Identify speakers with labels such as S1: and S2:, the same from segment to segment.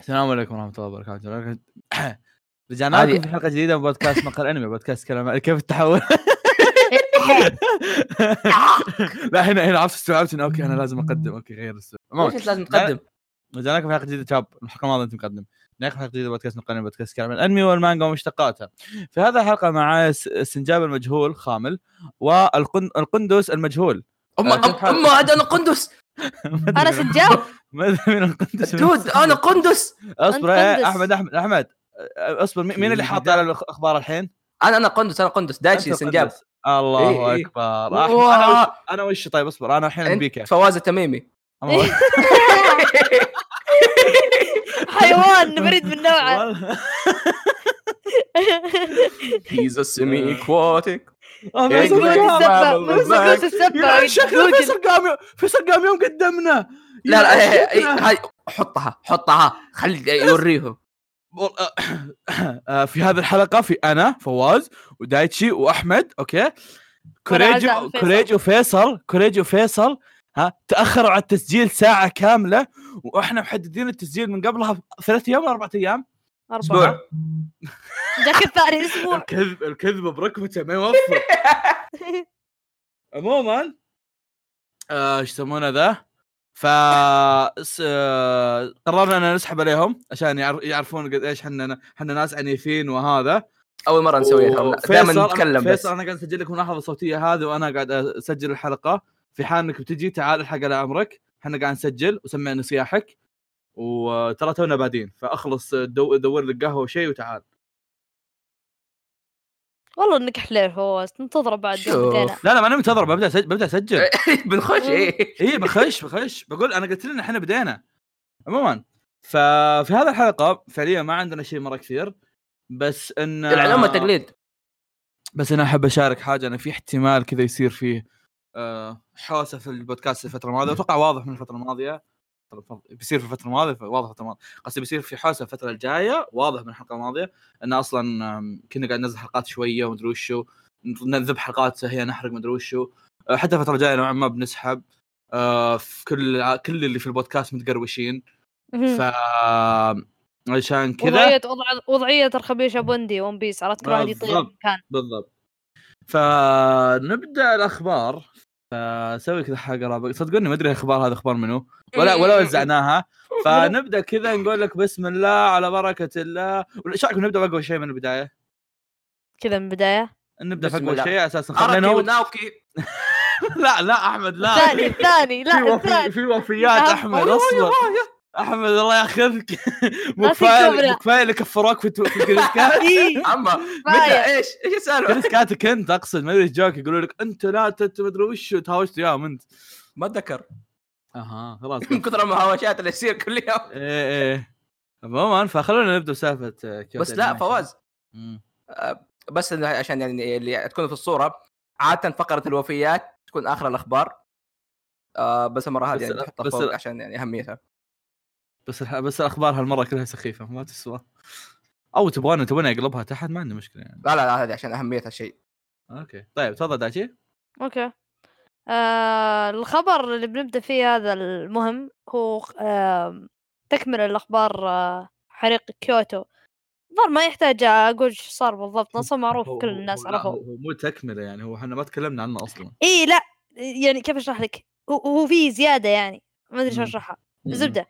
S1: السلام عليكم ورحمه الله وبركاته رجعنا
S2: هذه-
S1: لكم في حلقه جديده من بودكاست مقر انمي بودكاست كلام كيف التحول لا هنا هنا عرفت استوعبت انه اوكي انا لازم اقدم اوكي غير السؤال عموماً،
S2: ليش لازم تقدم؟
S1: رجعنا لكم في حلقه جديده شاب الحلقه الماضيه انت مقدم رجعنا لكم في حلقه جديده من بودكاست مقر انمي بودكاست كلام الانمي والمانجا ومشتقاتها في هذه الحلقه مع س- السنجاب المجهول خامل والقندس المجهول
S2: اما
S1: أه،
S2: أم- اما هذا انا قندس
S1: ما أدري
S3: انا
S1: من-
S3: سجاب
S1: ما ادري من القندس
S2: دود انا قندس
S1: اصبر
S3: أنت
S1: إيه،
S3: مهندس.
S1: احمد احمد احمد اصبر مين مين اللي حاط على الاخبار الحين؟
S2: انا انا قندس انا قندس دايتشي
S1: أنت
S2: سنجاب
S1: مهندس. الله
S2: إيه، إيه.
S1: اكبر أحمد، انا وش
S2: واو،
S1: انا وش طيب اصبر انا الحين
S2: انت
S1: بيك يا أخي.
S2: فواز التميمي
S1: أما وش-
S3: حيوان بريد من
S2: إيه.
S3: نوعه
S1: والله.
S2: هيز سيمي اكواتيك
S1: آه،
S2: إيه،
S1: فيصل
S2: قول.
S1: قام.
S3: مسكوس
S1: يا
S3: السبة
S1: شكله فيصل قام يوم فيصل قام يوم قدمنا
S2: لا لا
S1: يا
S2: إيه، إيه، إيه،
S1: شكله.
S2: هاي حطها حطها خلي يوريهم
S1: وال- آه، آه، في هذه الحلقه في انا فواز ودايتشي واحمد اوكي كوريج
S3: عزام وفيصل.
S1: كوريج وفيصل كوريج وفيصل ها تاخروا على التسجيل ساعه كامله واحنا محددين التسجيل من قبلها ثلاث ايام ولا اربع ايام
S3: أربعة
S2: اسبوع
S3: جاك الثاني أسبوع
S1: الكذب الكذب بركبته ما يوفق عموما آه، ايش يسمونه ذا ف س- آه، قررنا ان نسحب عليهم عشان يعر- يعرفون قد ايش احنا احنا ناس عنيفين وهذا
S2: اول مره نسويها
S1: وفيصل-
S2: دائما نتكلم
S1: فيصل
S2: بس
S1: انا قاعد اسجل لك ملاحظه صوتيه هذه وانا قاعد اسجل الحلقه في حال انك بتجي تعال الحق على عمرك احنا قاعد نسجل وسمعنا صياحك وترى تونا بادين فاخلص دو دور لك قهوه وشيء وتعال
S3: والله انك حليل فواز تنتظره بعد
S2: شوف.
S3: يومتين
S1: لا لا ما انا منتظر ببدا اسجل ببدا اسجل
S2: بنخش ايه
S1: اي إيه، بخش بخش بقول انا قلت لنا احنا بدينا عموما ففي هذه الحلقه فعليا ما عندنا شيء مره كثير بس آه، ان
S2: العلوم والتقليد
S1: بس انا احب اشارك حاجه انا في احتمال كذا يصير فيه آه، حوسه في البودكاست الفتره الماضيه اتوقع واضح من الفتره الماضيه طب تفضل. بيصير في الفتره الماضيه واضح الفتره الماضيه قصدي بيصير في حوسه الفتره الجايه واضح من الحلقه الماضيه ان اصلا آم، كنا قاعد ننزل حلقات شويه ومدري وشو نذب حلقات هي نحرق مدري وشو آه، حتى الفتره الجايه نوعا ما بنسحب آه، في كل كل اللي في البودكاست متقروشين ف عشان كذا
S3: وضعية وضع- وضعية الخبيش بندي ون بيس عرفت كل واحد يطير
S1: بالضبط.
S3: مكان
S1: بالضبط فنبدا الاخبار فسوي كذا حلقه صدقوني ما ادري اخبار هذا اخبار منو ولا ولا وزعناها فنبدا كذا نقول لك بسم الله على بركه الله ولا- ايش رايكم نبدا باقوى شيء من البدايه؟
S3: كذا من البداية
S1: نبدا
S2: بسم
S1: باقوى
S2: الله.
S1: شيء على اساس نخ-
S2: اراكي
S1: لأنه هو-
S2: وناوكي
S1: لا لا احمد لا
S3: الثاني الثاني
S1: في
S3: لا
S1: وفي
S3: الثاني
S1: في وفيات
S3: لا.
S1: احمد اصبر احمد الله ياخذك مو
S3: لا
S1: كفايه
S3: تكبر.
S1: مو كفايه اللي كفروك في التو- في الكريسكات
S3: إيه،
S2: اما
S3: كفاية.
S2: متى ايش ايش السالفه
S1: كريسكاتك انت اقصد ما ادري ايش جاك يقولوا لك انت لا تت- ما ادري وش تهاوشت وياهم انت
S2: ما اتذكر
S1: اها خلاص
S2: من كثر المهاوشات اللي تصير كل يوم
S1: ايه ايه عموما فخلونا نبدا بسالفه آه، كيوتو
S2: بس لا
S1: أنيميشن.
S2: فواز
S1: مم.
S2: بس إنه عشان يعني اللي تكون في الصوره عاده فقره الوفيات تكون اخر الاخبار آه بس المره
S1: بس
S2: هذه يعني
S1: لا-
S2: تحطها
S1: بس
S2: فوق
S1: لا.
S2: عشان يعني اهميتها
S1: بس الح... بس الاخبار هالمره كلها سخيفه ما تسوى او تبغانا تبغانا اقلبها تحت ما عندي مشكله يعني
S2: لا لا لا هذه عشان اهميتها الشيء
S1: اوكي طيب تفضل دايتشي
S3: اوكي آه الخبر اللي بنبدا فيه هذا المهم هو آه تكمل الاخبار آه حريق كيوتو الظاهر ما يحتاج اقول شو صار بالضبط اصلا معروف
S1: هو-
S3: كل
S1: هو-
S3: الناس
S1: هو- لا،
S3: عرفوا
S1: هو هو مو تكمله يعني هو احنا ما تكلمنا عنه اصلا
S3: اي لا يعني كيف اشرح لك هو- هو في زياده يعني ما ادري شو
S1: مم.
S3: اشرحها
S1: مم.
S3: الزبده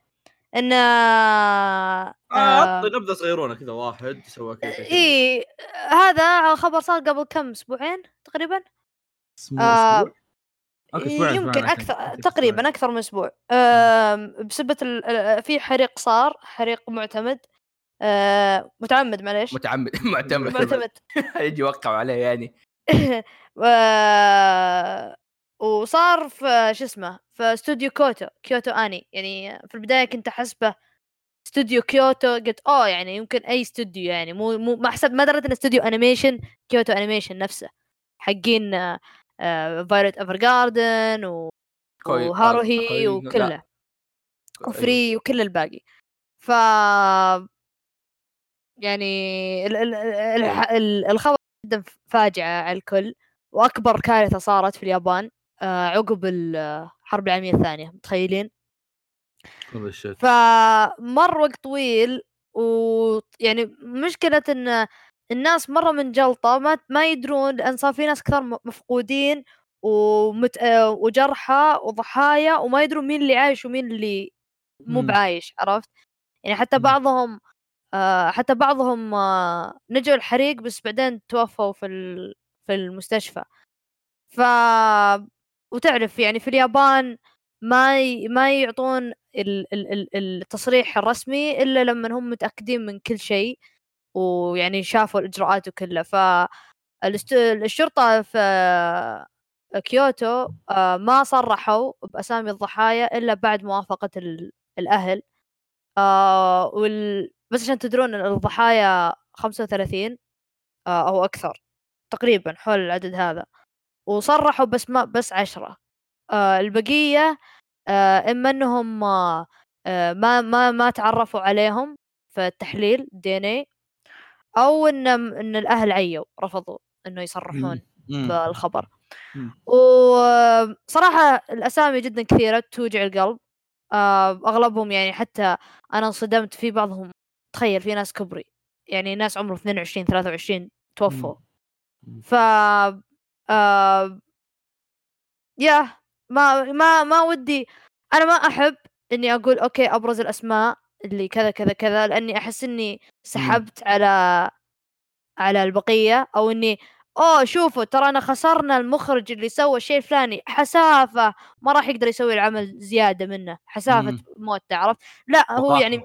S3: ان آه، إيه،
S1: آه، عطي نبذه صغيرونه كذا واحد سوى كذا كذا.
S3: اي هذا خبر صار قبل كم اسبوعين تقريبا
S1: اسمه
S3: آه،
S1: أسبوع؟ أوكي، أسبوعين،
S3: إيه، يمكن آه،
S1: أسبوعين
S3: اكثر
S1: أوكي،
S3: تقريبا اكثر من اسبوع
S1: إيه.
S3: آم، بسبه ال- ال- في حريق صار حريق معتمد آه، متعمد معليش
S2: متعمد معتمد
S3: معتمد
S2: يجي يوقع عليه يعني
S3: و- آه، وصار في شو اسمه في استوديو كوتو كيوتو اني يعني في البدايه كنت احسبه استوديو كيوتو قلت اوه يعني يمكن اي استوديو يعني مو مو ما حسب ما دريت ان استوديو انيميشن كيوتو انيميشن نفسه حقين آه، فايرت ايفر جاردن و
S2: كوي- آه، كوي-
S3: وهاروهي
S2: لا. أيوه.
S3: وكله وفري وكل الباقي ف يعني ال- ال- ال- الح-
S2: أيوه.
S3: ال- الخبر جدا فاجعه على الكل واكبر كارثه صارت في اليابان آه، عقب الحرب العالميه الثانيه متخيلين
S1: والله الشيء.
S3: فمر وقت طويل ويعني مشكلة ان الناس مرة منجلطة ما ما يدرون لان صار في ناس كثر م- مفقودين ومت... آه، وجرحى وضحايا وما يدرون مين اللي عايش ومين اللي مو
S1: مم.
S3: بعايش عرفت يعني حتى
S1: مم.
S3: بعضهم آه، حتى بعضهم آه، نجوا الحريق بس بعدين توفوا في ال- في المستشفى ف وتعرف يعني في اليابان ما ي... ما يعطون ال... ال... ال- التصريح الرسمي الا لما هم متاكدين من كل شيء ويعني شافوا الاجراءات وكله ف الاست- الشرطه في كيوتو آه، ما صرحوا باسامي الضحايا الا بعد موافقه ال- الاهل آه، وال... بس عشان تدرون إن الضحايا 35 آه، او اكثر تقريبا حول العدد هذا وصرحوا بس ما بس عشرة آه، البقية آه، إما أنهم آه، آه، ما ما ما تعرفوا عليهم في التحليل الدي ان اي أو إن إن الأهل عيوا رفضوا إنه يصرحون
S1: مم.
S3: بالخبر
S1: مم.
S3: وصراحة الأسامي جدا كثيرة توجع القلب آه، أغلبهم يعني حتى أنا انصدمت في بعضهم تخيل في ناس كبري يعني ناس عمره 22 23 توفوا
S1: مم.
S3: ف آه، يا ما ما ما ودي أنا ما أحب إني أقول أوكي أبرز الأسماء اللي كذا كذا كذا لأني أحس إني سحبت على على البقية أو إني اوه شوفوا ترى انا خسرنا المخرج اللي سوى الشيء الفلاني حسافه ما راح يقدر يسوي العمل زياده منه حسافه
S1: مم.
S3: موت عرفت لا هو
S1: وقاحة.
S3: يعني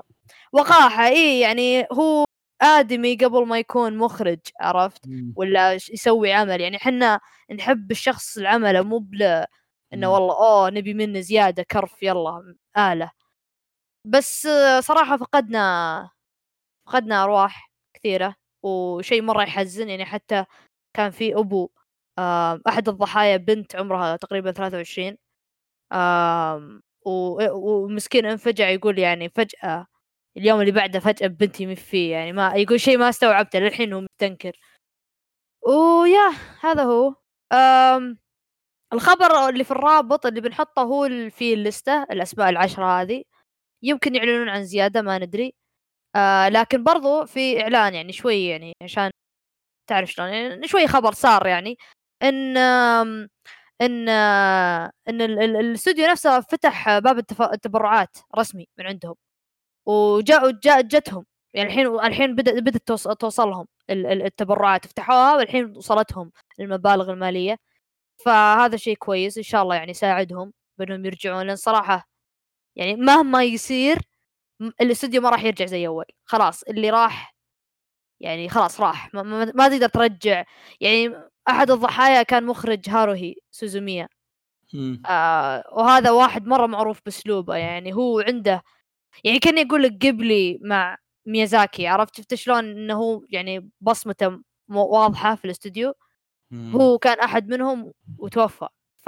S3: وقاحه اي يعني هو ادمي قبل ما يكون مخرج عرفت
S1: مم.
S3: ولا ش- يسوي عمل يعني حنا نحب الشخص العمل مو بل انه
S1: مم.
S3: والله اوه نبي منه زياده كرف يلا اله بس آه، صراحه فقدنا فقدنا ارواح كثيره وشيء مره يحزن يعني حتى كان في ابو آه، احد الضحايا بنت عمرها تقريبا 23 آم، و- ومسكين انفجع يقول يعني فجاه اليوم اللي بعده فجاه بنتي مي فيه يعني ما يقول شيء ما استوعبته للحين هو مستنكر ويا هذا هو أم الخبر اللي في الرابط اللي بنحطه هو ال- في اللستة الأسماء العشرة هذه يمكن يعلنون عن زيادة ما ندري آه لكن برضو في إعلان يعني شوي يعني عشان تعرف شلون يعني شوي خبر صار يعني إن آم، إن آه، إن ال- ال- الاستوديو نفسه فتح باب التف- التبرعات رسمي من عندهم وجاء جاء جتهم يعني الحين الحين بدأ بدأت توص- توصلهم ال- ال- التبرعات فتحوها والحين وصلتهم المبالغ المالية فهذا شيء كويس ان شاء الله يعني يساعدهم بانهم يرجعون لان صراحه يعني مهما يصير م- الاستوديو ما راح يرجع زي اول خلاص اللي راح يعني خلاص راح ما, ما, ما تقدر ترجع يعني احد الضحايا كان مخرج هاروهي سوزوميا
S1: مم.
S3: آه وهذا واحد مره معروف باسلوبه يعني هو عنده يعني كان يقول لك قبلي مع ميازاكي عرفت شفت شلون انه هو يعني بصمته م- واضحه في الاستوديو
S1: مم.
S3: هو كان احد منهم وتوفى ف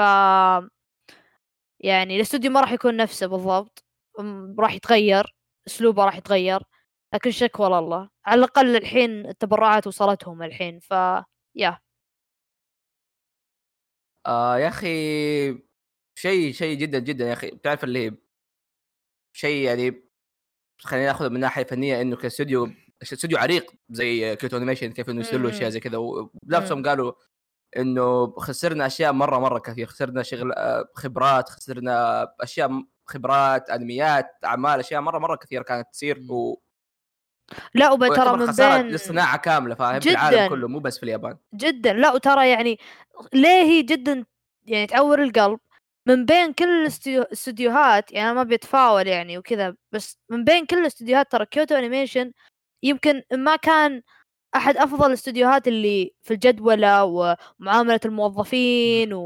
S3: يعني الاستوديو ما راح يكون نفسه بالضبط أم- راح يتغير اسلوبه راح يتغير لكن شكوى لله على الاقل الحين التبرعات وصلتهم الحين ف يا
S2: آه يا اخي شيء شيء جدا جدا يا اخي بتعرف اللي شيء يعني خلينا ناخذه من ناحيه فنيه انه كاستوديو استوديو عريق زي كيوتو انيميشن كيف انه يستغلوا
S3: مم.
S2: اشياء زي كذا ونفسهم قالوا انه خسرنا اشياء مره مره كثير خسرنا شغل آه، خبرات خسرنا اشياء م- خبرات انميات اعمال اشياء مره مره كثير كانت تصير
S1: مم.
S2: و...
S3: لا وبا ترى
S2: ويعتبر
S3: إمم. من
S2: خساره
S3: بين
S2: للصناعه كامله فاهم في
S3: جداً.
S2: العالم كله مو بس في اليابان
S3: جدا لا وترى يعني ليه هي جدا يعني تعور القلب من بين كل الاستيو- الاستديوهات يعني أنا ما بيتفاول يعني وكذا بس من بين كل الاستديوهات ترى كيوتو انيميشن يمكن ما كان احد افضل الاستديوهات اللي في الجدولة ومعاملة الموظفين
S1: مم.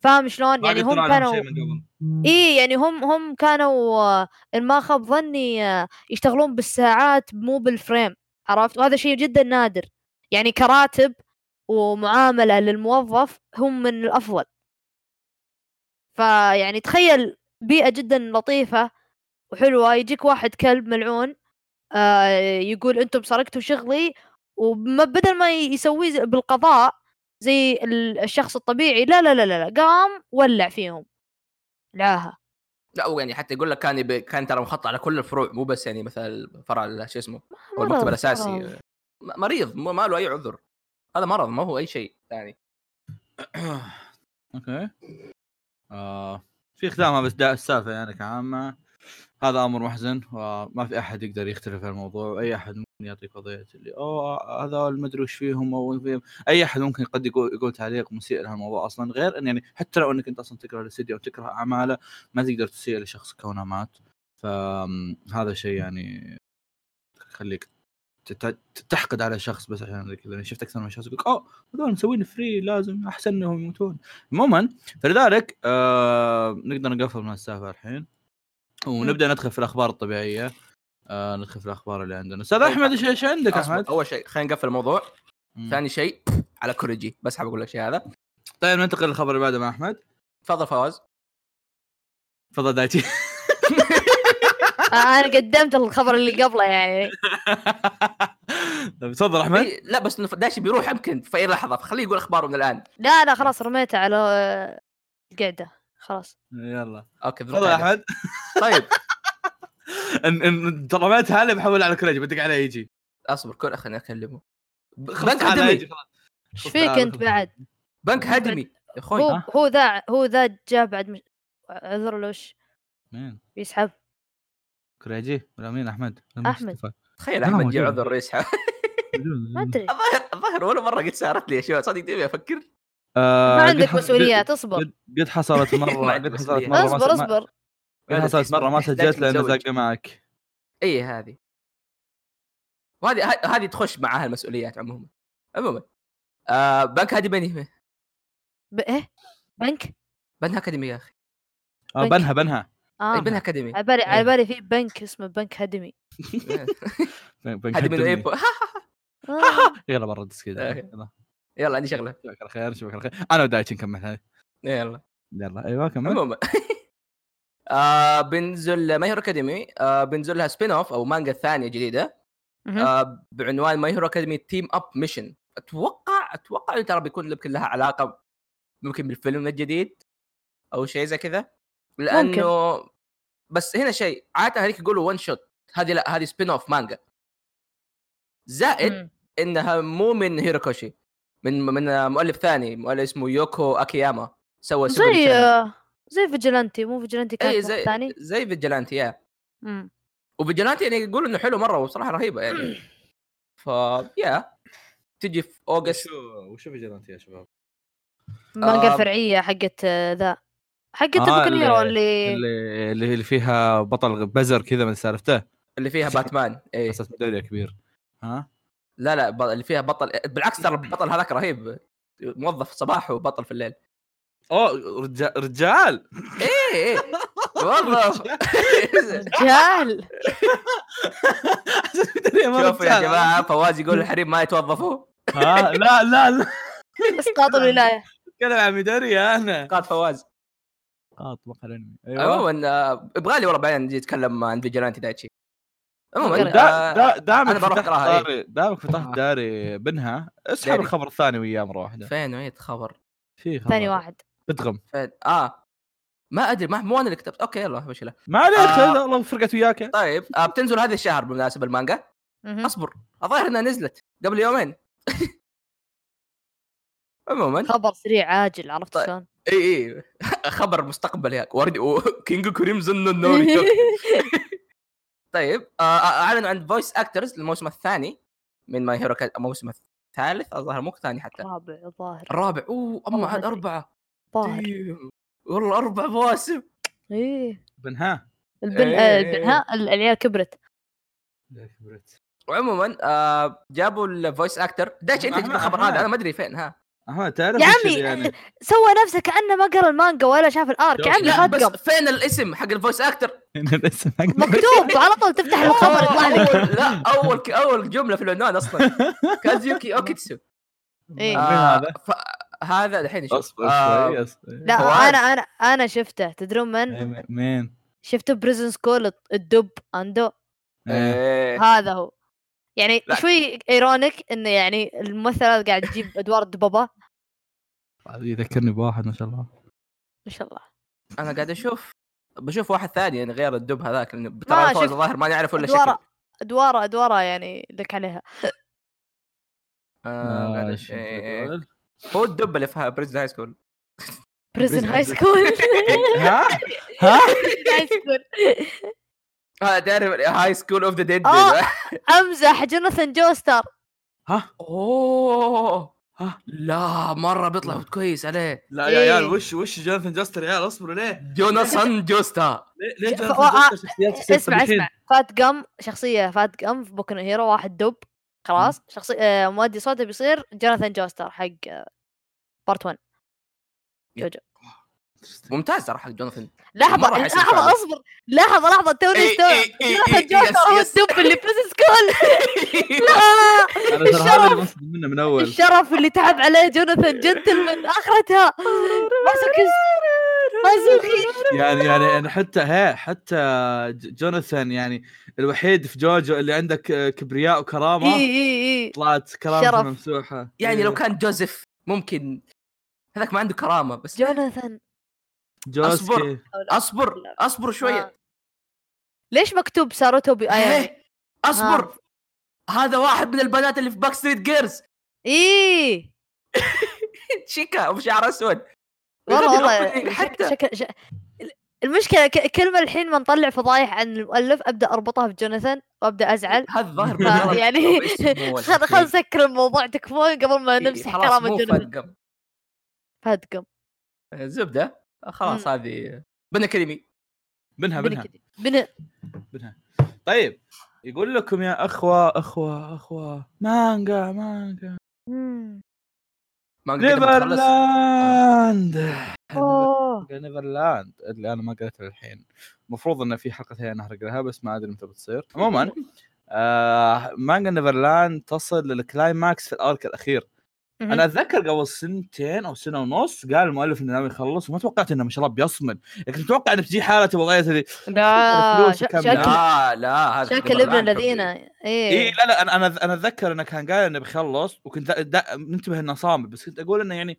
S3: وفاهم شلون
S1: ما
S3: يعني
S1: قدروا
S3: هم
S1: عليهم شيء
S3: كانوا
S1: من قبل.
S3: اي يعني هم هم كانوا آه، ان ما خاب ظني آه، يشتغلون بالساعات مو بالفريم عرفت وهذا شيء جدا نادر يعني كراتب ومعامله للموظف هم من الافضل فيعني تخيل بيئه جدا لطيفه وحلوه يجيك واحد كلب ملعون آه، يقول انتم سرقتوا شغلي وبدل ما ي- يسويه زي- بالقضاء زي ال- الشخص الطبيعي لا لا لا لا لا، قام ولع فيهم لعاها
S2: لا هو يعني حتى يقول لك كان يبي كان ترى مخطط على كل الفروع مو بس يعني مثلا الفرع ال- شو اسمه هو المكتب
S3: مرض،
S2: الاساسي
S3: مرض.
S2: م- مريض ما ما له اي عذر هذا مرض ما هو اي شيء ثاني
S1: اوكي آه في خدامه بس ده السالفه يعني كعامه هذا امر محزن وما في احد يقدر يختلف في الموضوع واي احد ممكن يعطيك وضعيه اللي اوه هذا ما ادري وش فيهم او فيهم اي احد ممكن قد يقول, يقول تعليق مسيء لهالموضوع اصلا غير ان يعني حتى لو انك انت اصلا تكره الاستديو وتكره اعماله ما تقدر تسيء لشخص كونه مات فهذا شيء يعني يخليك تت- تحقد على شخص بس عشان زي كذا يعني شفت اكثر من شخص يقول اوه هذول مسوين فري لازم احسن انهم يموتون عموما فلذلك آه نقدر نقفل من السالفه الحين ونبدا ندخل في الاخبار الطبيعيه آه ندخل في الاخبار اللي عندنا استاذ احمد ايش ايش عندك
S2: طيب، أصبر.
S1: احمد؟
S2: اول شيء خلينا نقفل الموضوع
S1: مم.
S2: ثاني شيء على كوريجي بس حاب اقول لك شيء هذا
S1: طيب ننتقل للخبر اللي بعده مع احمد
S2: تفضل فواز
S1: تفضل دايتي
S3: آه، انا قدمت الخبر اللي قبله يعني
S1: طيب، تفضل احمد
S2: إيه، لا بس انه داشي بيروح يمكن في اي لحظه فخليه يقول اخباره من الان
S3: لا لا خلاص رميته على آه، القعده خلاص
S1: يلا
S2: اوكي
S1: تفضل
S2: بنروح
S1: احمد
S2: طيب
S1: ان ان ترى ما تهالي بحول على كريج بدق عليه يجي
S2: اصبر كل خليني اكلمه بنك
S1: خلاص تعال
S2: هدمي
S1: يجي، خلاص.
S3: ايش
S1: خلاص
S3: فيك
S1: تعال،
S3: انت
S1: خلاص.
S3: بعد
S2: بنك هدمي يا
S3: هو
S2: اخوي
S1: ها؟
S3: هو ذا هو ذا جاء بعد مش... عذر له وش
S1: مين
S3: بيسحب
S1: كريجي ولا مين احمد ولا مين
S3: أحمد.
S1: اختفى؟
S2: تخيل
S1: لا،
S2: احمد
S1: موجود.
S2: جاي عذر الرئيس حا-
S3: ما ادري
S2: الظاهر الظاهر ولا مره قد صارت لي اشياء صدق تبي افكر
S1: آه،
S3: ما
S1: قد
S3: عندك
S1: حص-
S3: مسؤوليات اصبر
S1: قد- قد حصلت
S2: ما
S1: مره
S2: عندي
S1: قد حصلت
S2: مسؤولية.
S1: مره ما-
S3: اصبر
S1: ما-
S3: اصبر
S1: قد حصلت مره ما سجلت لانه
S2: متزوج.
S1: زق معك
S2: اي إيه هذه وهذه ه- هذه تخش معها المسؤوليات عموما عموما آه بنك هدمي
S3: ب... ايه بنك
S2: بنها اكاديمي يا اخي
S1: آه،
S3: بنك.
S1: بنها بنها
S3: اه
S2: أي بنها اكاديمي
S3: على بالي
S2: إيه.
S3: على بالي في بنك اسمه بنك هدمي
S1: بن-
S2: هدمي
S1: بنكدمني.
S2: الايبو
S3: آه.
S1: يلا برا الديسكيد
S2: آه.
S1: يلا
S2: يلا عندي شغله
S1: نشوفك على خير نشوفك على خير انا ودايتش نكمل هاي
S2: يلا
S1: يلا ايوه كمل
S2: عموما آه بنزل ماي هيرو اكاديمي آه بنزل لها سبين اوف او مانجا ثانيه جديده
S3: مهم.
S2: آه بعنوان ماي هيرو اكاديمي تيم اب ميشن اتوقع اتوقع إنه ترى بيكون يمكن لها علاقه ممكن بالفيلم الجديد او شيء زي كذا لانه ممكن. بس هنا شيء عاده هذيك يقولوا ون شوت هذه لا هذه سبين اوف مانجا زائد
S3: مم.
S2: انها مو من هيروكوشي من من مؤلف ثاني مؤلف اسمه يوكو اكياما سوى سوبر
S3: زي آه،
S2: ريتيرن.
S3: زي فيجلانتي مو فيجلانتي كان
S2: اي
S3: واحد
S2: زي
S3: ثاني
S2: زي فيجلانتي يا
S3: مم.
S2: وفيجلانتي يعني يقولوا انه حلو مره وبصراحه رهيبه يعني ف يا تجي في اوغست
S1: وشو فيجلانتي يا شباب؟
S3: مانجا
S2: آه.
S3: الفرعيه حقت آه، ذا حقت
S1: آه،
S3: آه
S1: اللي-
S3: اللي
S1: اللي اللي اللي فيها بطل بزر كذا من سالفته
S2: اللي فيها باتمان اي
S1: اساس ميداليه كبير ها
S2: لا لا ب- اللي فيها بطل بالعكس ترى البطل هذاك رهيب موظف صباح وبطل في الليل
S1: اوه رجال رجال
S2: اي اي إيه، موظف
S3: جال
S1: ميدالية مرة
S2: شوفوا يا
S1: رجال.
S2: جماعه فواز يقول الحريم ما يتوظفوا
S1: ها لا لا لا
S3: اسقاط الولايه
S1: اتكلم عن ميدالية انا
S2: قال فواز
S1: قاط بقى الانمي
S2: عموما آه، يبغى لي والله بعدين نجي نتكلم عن فيجلانتي دايتشي عموما
S3: دا-
S2: آه،
S1: دا- دا- دامك
S2: أنا بروح
S1: فتحت
S2: أقراها، إيه.
S1: داري دامك فتحت داري بنها اسحب
S2: داري.
S1: الخبر الثاني وياه مره واحده
S2: فين وين خبر
S1: في خبر
S3: ثاني واحد
S1: بتغم
S2: فين اه ما ادري ما مو انا اللي كتبت اوكي يلا مش له
S1: ما عليك
S2: آه.
S1: خلاص، الله فرقت وياك
S2: طيب آه بتنزل هذا الشهر بالمناسبه المانجا
S3: مهم.
S2: اصبر الظاهر انها نزلت قبل يومين عموما
S3: خبر سريع عاجل عرفت
S2: طيب.
S3: شلون؟
S2: اي اي خبر مستقبل ياك ورد كينج كريمزون نوري طيب آه، آه، اعلنوا عن فويس اكترز الموسم الثاني من ماي هيرو الموسم الثالث الظاهر مو الثاني حتى
S3: رابع الظاهر
S2: الرابع اوه
S3: والله
S2: اما عاد
S3: ما أدري.
S2: اربعه
S3: الظاهر
S2: ديم. والله اربع مواسم
S3: ايه
S1: بنها
S3: البن
S2: إيه.
S3: آه، البن ها ال- العيال كبرت
S2: وعموما آه جابوا الفويس اكتر دايتش انت
S1: أحمد-
S2: جبت الخبر
S1: أحمد.
S2: هذا انا ما ادري فين ها
S1: احمد تعرف
S3: يا
S1: إيش
S3: عمي،
S1: اللي يعني
S3: سوى نفسه كانه ما قرا المانجا ولا شاف الارك يا
S1: شوف،
S3: عمي
S2: لا بس
S3: خدقم
S2: فين الاسم حق الفويس اكتر
S1: إن الاسم حق-
S3: مكتوب على طول تفتح
S2: آه.
S3: الخبر يطلع لك
S2: أول- لا اول ك- اول جمله في العنوان اصلا كازيوكي اوكيتسو
S3: إيه.
S1: مين
S2: آه،
S1: هذا
S2: ف- هذا الحين نشوف.
S1: اصبر
S2: آه،
S1: شوي أصبر.
S3: لا
S2: فواز.
S3: انا انا انا شفته تدرون من؟
S1: إيه، مين
S3: شفته بريزن سكول الدب اندو
S1: إيه.
S2: إيه.
S3: هذا هو يعني
S2: لا.
S3: شوي ايرونيك انه يعني الممثل هذا قاعد يجيب ادوار الدبابه
S1: يذكرني بواحد ما شاء الله
S3: ما شاء الله
S2: انا قاعد اشوف بشوف واحد ثاني يعني غير الدب هذاك لانه
S3: ما
S2: ترى
S3: شفت.
S2: الظاهر ما نعرف ولا
S3: أدوارة-
S2: شكل
S3: ادواره ادواره يعني لك عليها
S2: آه، معلش. إيه، إيه. هو الدب اللي في بريزن هاي سكول
S3: بريزن
S1: Prison
S3: هاي
S1: High
S3: سكول
S1: ها ها
S3: هاي سكول
S2: اه تعرف هاي سكول اوف ذا ديد
S3: آه. امزح جوناثان جوستر
S1: ها
S2: اوه
S1: ها
S2: آه، لا مره بيطلع كويس عليه
S1: لا يا عيال
S3: إيه.
S1: وش وش جوناثان جاستر يا عيال اصبروا ليه؟
S2: جوناثان جوستا
S1: ليه, ليه
S3: شوف،
S1: جوناثان جاستر شخصيات شخصيات
S3: اسمع
S1: طبيعيين؟
S3: اسمع فات قم شخصيه فات قم في بوكو هيرو واحد دب خلاص شخصيه آه، مؤدي صوته بيصير جوناثان جوستر حق آه، بارت 1
S2: ممتاز ترى حق جوناثان
S3: لحظه
S2: مرة إيه، حيصير
S3: لحظه
S2: فعلاً.
S3: اصبر لحظه لحظه توني
S2: إي-
S3: استوعب
S2: إي- إي- إي- إي-
S3: جوناثان جوستر
S2: يس-
S3: هو
S2: إيه، يس.
S3: الدب اللي بريزن سكول لا
S1: انا ترى هذا
S3: الشرف.
S1: اللي مصدوم منه من اول
S3: الشرف اللي تعب عليه جوناثان جنتلمان اخرتها ماسوكست مازوخيست
S1: يعني يعني انا حتى ها حتى ج- جوناثان يعني الوحيد في جوجو اللي عندك آه، كبرياء
S3: اي
S1: وكرامه
S3: اي اي
S1: طلعت
S3: إيه.
S1: إيه.
S3: شرف.
S1: كرامته ممسوحه
S2: يعني لو كان جوزيف ممكن هذاك ما عنده كرامه بس
S3: جوناثان
S1: جوزكي
S2: أصبر. اصبر اصبر شويه
S3: آه. ليش مكتوب ساروتو بي اي
S2: إيه، اصبر
S3: آه.
S2: هذا واحد من البنات اللي في باك ستريت جيرز
S3: اي
S2: شيكا وبشعر اسود
S3: والله
S2: غبي
S3: والله يعني
S2: الأوبننج
S3: شك-
S2: حتى.
S3: شك- ش- المشكله ك- كلمه الحين ما نطلع فضايح عن المؤلف ابدا اربطها في جوناثان وابدا ازعل
S2: هذا الظاهر
S3: آه، يعني خل خل نسكر الموضوع تكفون قبل ما
S2: إيه،
S3: نمسح كرامه جوناثان
S2: جوناثان
S3: فهدكم
S2: زبده آه، خلاص هذه بنا كلمي
S1: منها منها
S3: بن
S1: منها طيب يقول لكم يا اخوه اخوه اخوه مانجا مانجا
S2: ما قد- ما تخلص.
S1: نيفرلاند
S3: اوه
S1: نيفرلاند اللي انا ما قريتها للحين المفروض انه في حلقتين انا احرقها بس ما ادري متى بتصير عموما آه مانجا نيفرلاند تصل للكلايماكس في الارك الاخير
S3: مهم.
S1: انا اتذكر قبل سنتين او سنه ونص قال المؤلف انه ناوي يخلص وما توقعت انه ما شاء الله بيصمد لكن متوقع انه بتجي حاله وضعيه اللي
S3: لا
S1: الفلوس
S3: ش-
S1: وكم
S3: شكل
S2: لا لا هذا
S3: شكل ابن الذين
S1: اي
S2: إيه،
S3: ايه
S1: إيه، لا لا انا انا انا اتذكر انه كان قال انه بيخلص وكنت دا- دا منتبه انه صامد بس كنت اقول انه يعني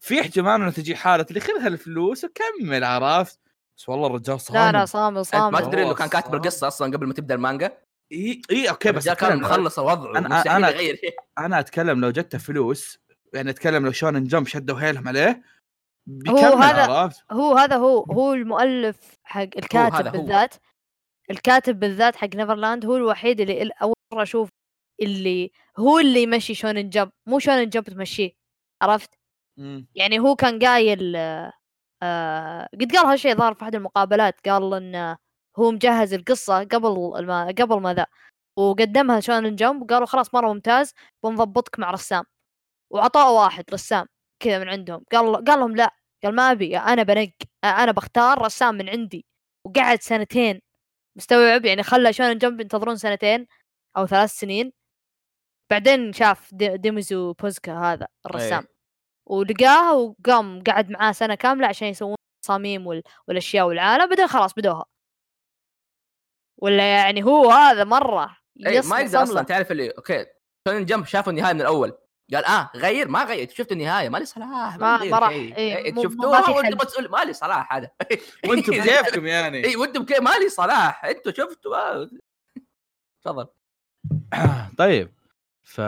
S1: في احتمال انه تجي حاله اللي خذ هالفلوس وكمل عرفت بس والله الرجال
S3: لا
S1: صامد
S3: لا صامل
S2: ما
S3: صامل
S1: أنت
S2: تدري انه كان
S1: خلاص.
S2: كاتب القصه اصلا قبل ما تبدا المانجا
S1: اي اي اوكي بس
S2: الرجال كان
S1: أتكلم-
S2: مخلص الوضع
S1: أنا-
S2: مستحيل
S1: أنا-
S2: يغير شيء.
S1: انا اتكلم لو جته فلوس يعني اتكلم لو شونن جمب شدوا حيلهم عليه
S3: هو
S1: بيكمل
S3: هذا-
S1: عرفت
S3: هو هذا هو هو المؤلف حق الكاتب
S2: هذا هو.
S3: بالذات الكاتب بالذات حق نيفرلاند هو الوحيد اللي ال- اول مره اشوف اللي هو اللي يمشي شونن جمب مو شونن جمب تمشيه عرفت
S1: مم.
S3: يعني هو كان قايل آه قد قال هالشيء ظهر في احد المقابلات قال ان هو مجهز القصه قبل ما قبل ما ذا وقدمها شونن جمب وقالوا خلاص مره ممتاز بنضبطك مع رسام وعطاه واحد رسام كذا من عندهم قال قال لهم لا قال ما ابي انا بنق انا بختار رسام من عندي وقعد سنتين مستوعب يعني خلى شونن جمب ينتظرون سنتين او ثلاث سنين بعدين شاف دي- ديميزو بوزكا هذا
S2: إيه.
S3: الرسام ولقاه وقام قعد معاه سنه كامله عشان يسوون التصاميم وال... والاشياء والعالم بعدين خلاص بدوها ولا يعني هو هذا مره
S2: إيه،
S3: يصمم
S2: ما يقدر اصلا
S3: صملة.
S2: تعرف اللي اوكي شونن جمب شافوا النهايه من الاول قال اه غير ما غير شفت النهايه ما لي صلاح
S3: ما-
S2: غير
S3: ما راح،
S2: شيء.
S3: إيه،
S2: إيه،
S3: مو-
S2: شفتوها
S3: ما في
S2: وأنتوا
S3: حل.
S2: بتقول ما لي صلاح هذا
S1: وانتم بكيفكم يعني
S2: اي وانتم بكيف ما لي صلاح انتم شفتوا آه. تفضل
S1: طيب ف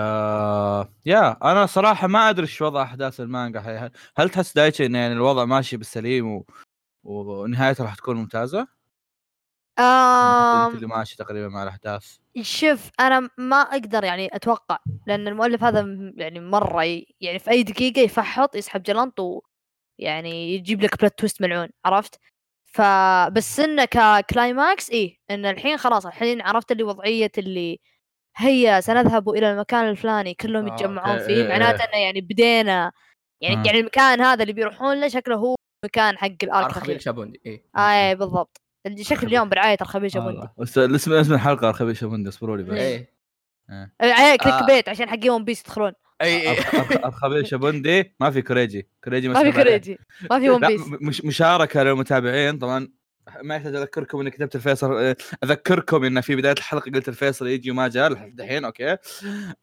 S1: يا انا صراحه ما ادري ايش وضع احداث المانجا هي- هل, هل تحس دايتشي ان يعني الوضع ماشي بالسليم و... و- ونهايته راح تكون يعني ممتازه؟ أنت
S3: آم...
S1: اللي ماشي تقريبا مع الاحداث
S3: شوف انا ما اقدر يعني اتوقع لان المؤلف هذا م- يعني مره ي... يعني في اي دقيقه يفحط يسحب جلنط و يعني يجيب لك بلوت تويست ملعون عرفت فبس انه ككلايماكس ايه ان الحين خلاص الحين عرفت اللي وضعيه اللي هيا سنذهب الى المكان الفلاني كلهم
S1: آه،
S3: يتجمعون
S1: إيه، إيه،
S3: فيه
S1: إيه.
S3: معناته انه يعني بدينا يعني
S1: آه.
S3: يعني المكان هذا اللي بيروحون له شكله هو مكان حق الارك
S2: ارخبيل
S3: الاخير
S2: شابوندي اي
S3: اي إيه، بالضبط شكل
S1: أرخبيل.
S3: اليوم برعايه الخبيج ابوندي
S1: والله. بس اسم اسم الحلقه رخبيش بندي اصبروا لي بس
S3: إيه.
S2: اي
S3: عليه إيه، كليك
S2: آه.
S3: بيت عشان حقين ون بيس يدخلون
S2: اي
S1: الخبيش بندي ما في كوريجي كوريجي
S3: ما في
S1: مسحوب عليه.
S3: كوريجي ما في ون
S1: لا،
S3: بيس
S1: م- مش مشاركه للمتابعين طبعا ما يحتاج اذكركم اني كتبت الفيصل اذكركم ان في بدايه الحلقه قلت الفيصل يجي وما جاء لحد دحين اوكي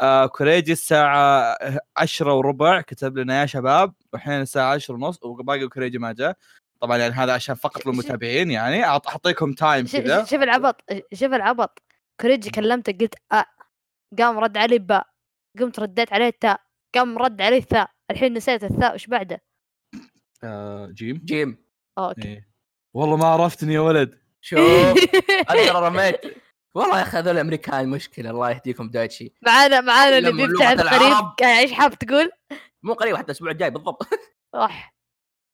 S1: آه كوريجي الساعه عشرة وربع كتب لنا يا شباب والحين الساعه عشرة ونص وباقي كوريجي ما جاء طبعا يعني هذا عشان فقط
S3: ش-
S1: للمتابعين يعني أعط- اعطيكم تايم
S3: شوف
S1: كذا
S3: شوف- شوف العبط شوف العبط كوريجي كلمته قلت أ قام رد علي باء قمت رديت عليه تاء قام رد علي ثاء الحين نسيت الثاء وش بعده
S1: آه، جيم
S2: جيم
S3: أوه، اوكي
S1: إيه. والله ما عرفتني يا ولد
S2: شوف انا ترى رميت والله يا اخي هذول الامريكان مشكله الله يهديكم دايتشي
S3: معانا معانا اللي
S2: لما
S3: بيبتعد
S2: لغة
S3: قريب
S2: العرب.
S3: كان ايش حاب تقول؟
S2: مو قريب حتى الاسبوع الجاي بالضبط
S3: راح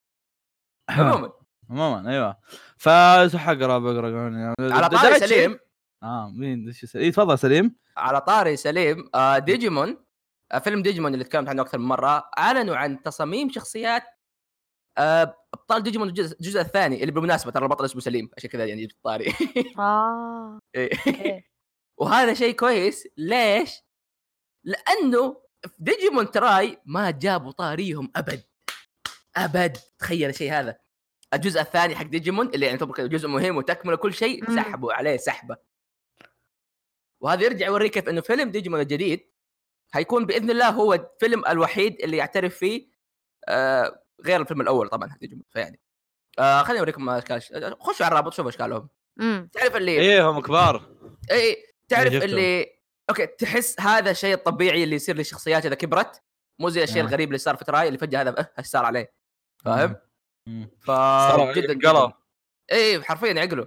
S2: عموما
S1: عموما ايوه فايش حق رابع يعني
S2: على طاري
S1: دايتشي.
S2: سليم
S1: اه مين ايش يسأل؟ إيه، تفضل سليم
S2: على طاري سليم آه، ديجيمون آه، فيلم ديجيمون اللي تكلمت عنه اكثر من مره اعلنوا عن تصاميم شخصيات آه، ابطال ديجيمون الجزء, الجزء الثاني اللي بالمناسبه ترى البطل اسمه سليم عشان كذا يعني جبت طاري
S3: اه
S2: إيه.
S3: أوكي.
S2: وهذا شيء كويس ليش؟ لانه في ديجيمون تراي ما جابوا طاريهم ابد ابد تخيل شيء هذا الجزء الثاني حق ديجيمون اللي يعني طبعا جزء مهم وتكمله كل شيء
S3: مم.
S2: سحبوا عليه سحبه وهذا يرجع يوريك كيف انه فيلم ديجيمون الجديد حيكون باذن الله هو الفيلم الوحيد اللي يعترف فيه آه غير الفيلم الاول طبعا حق ديجيمون فيعني آه خليني اوريكم اشكال آه، خشوا على الرابط شوفوا اشكالهم
S3: أمم.
S2: تعرف اللي
S1: ايه هم كبار
S2: اي إيه، تعرف
S1: إيه، شفتهم.
S2: اللي اوكي تحس هذا الشيء الطبيعي اللي يصير للشخصيات اذا كبرت مو زي الشيء
S1: آه.
S2: الغريب اللي صار في تراي اللي فجاه هذا أه، ايش صار عليه فاهم؟ ف إيه،
S1: صار انقلب.
S2: اي حرفيا عقله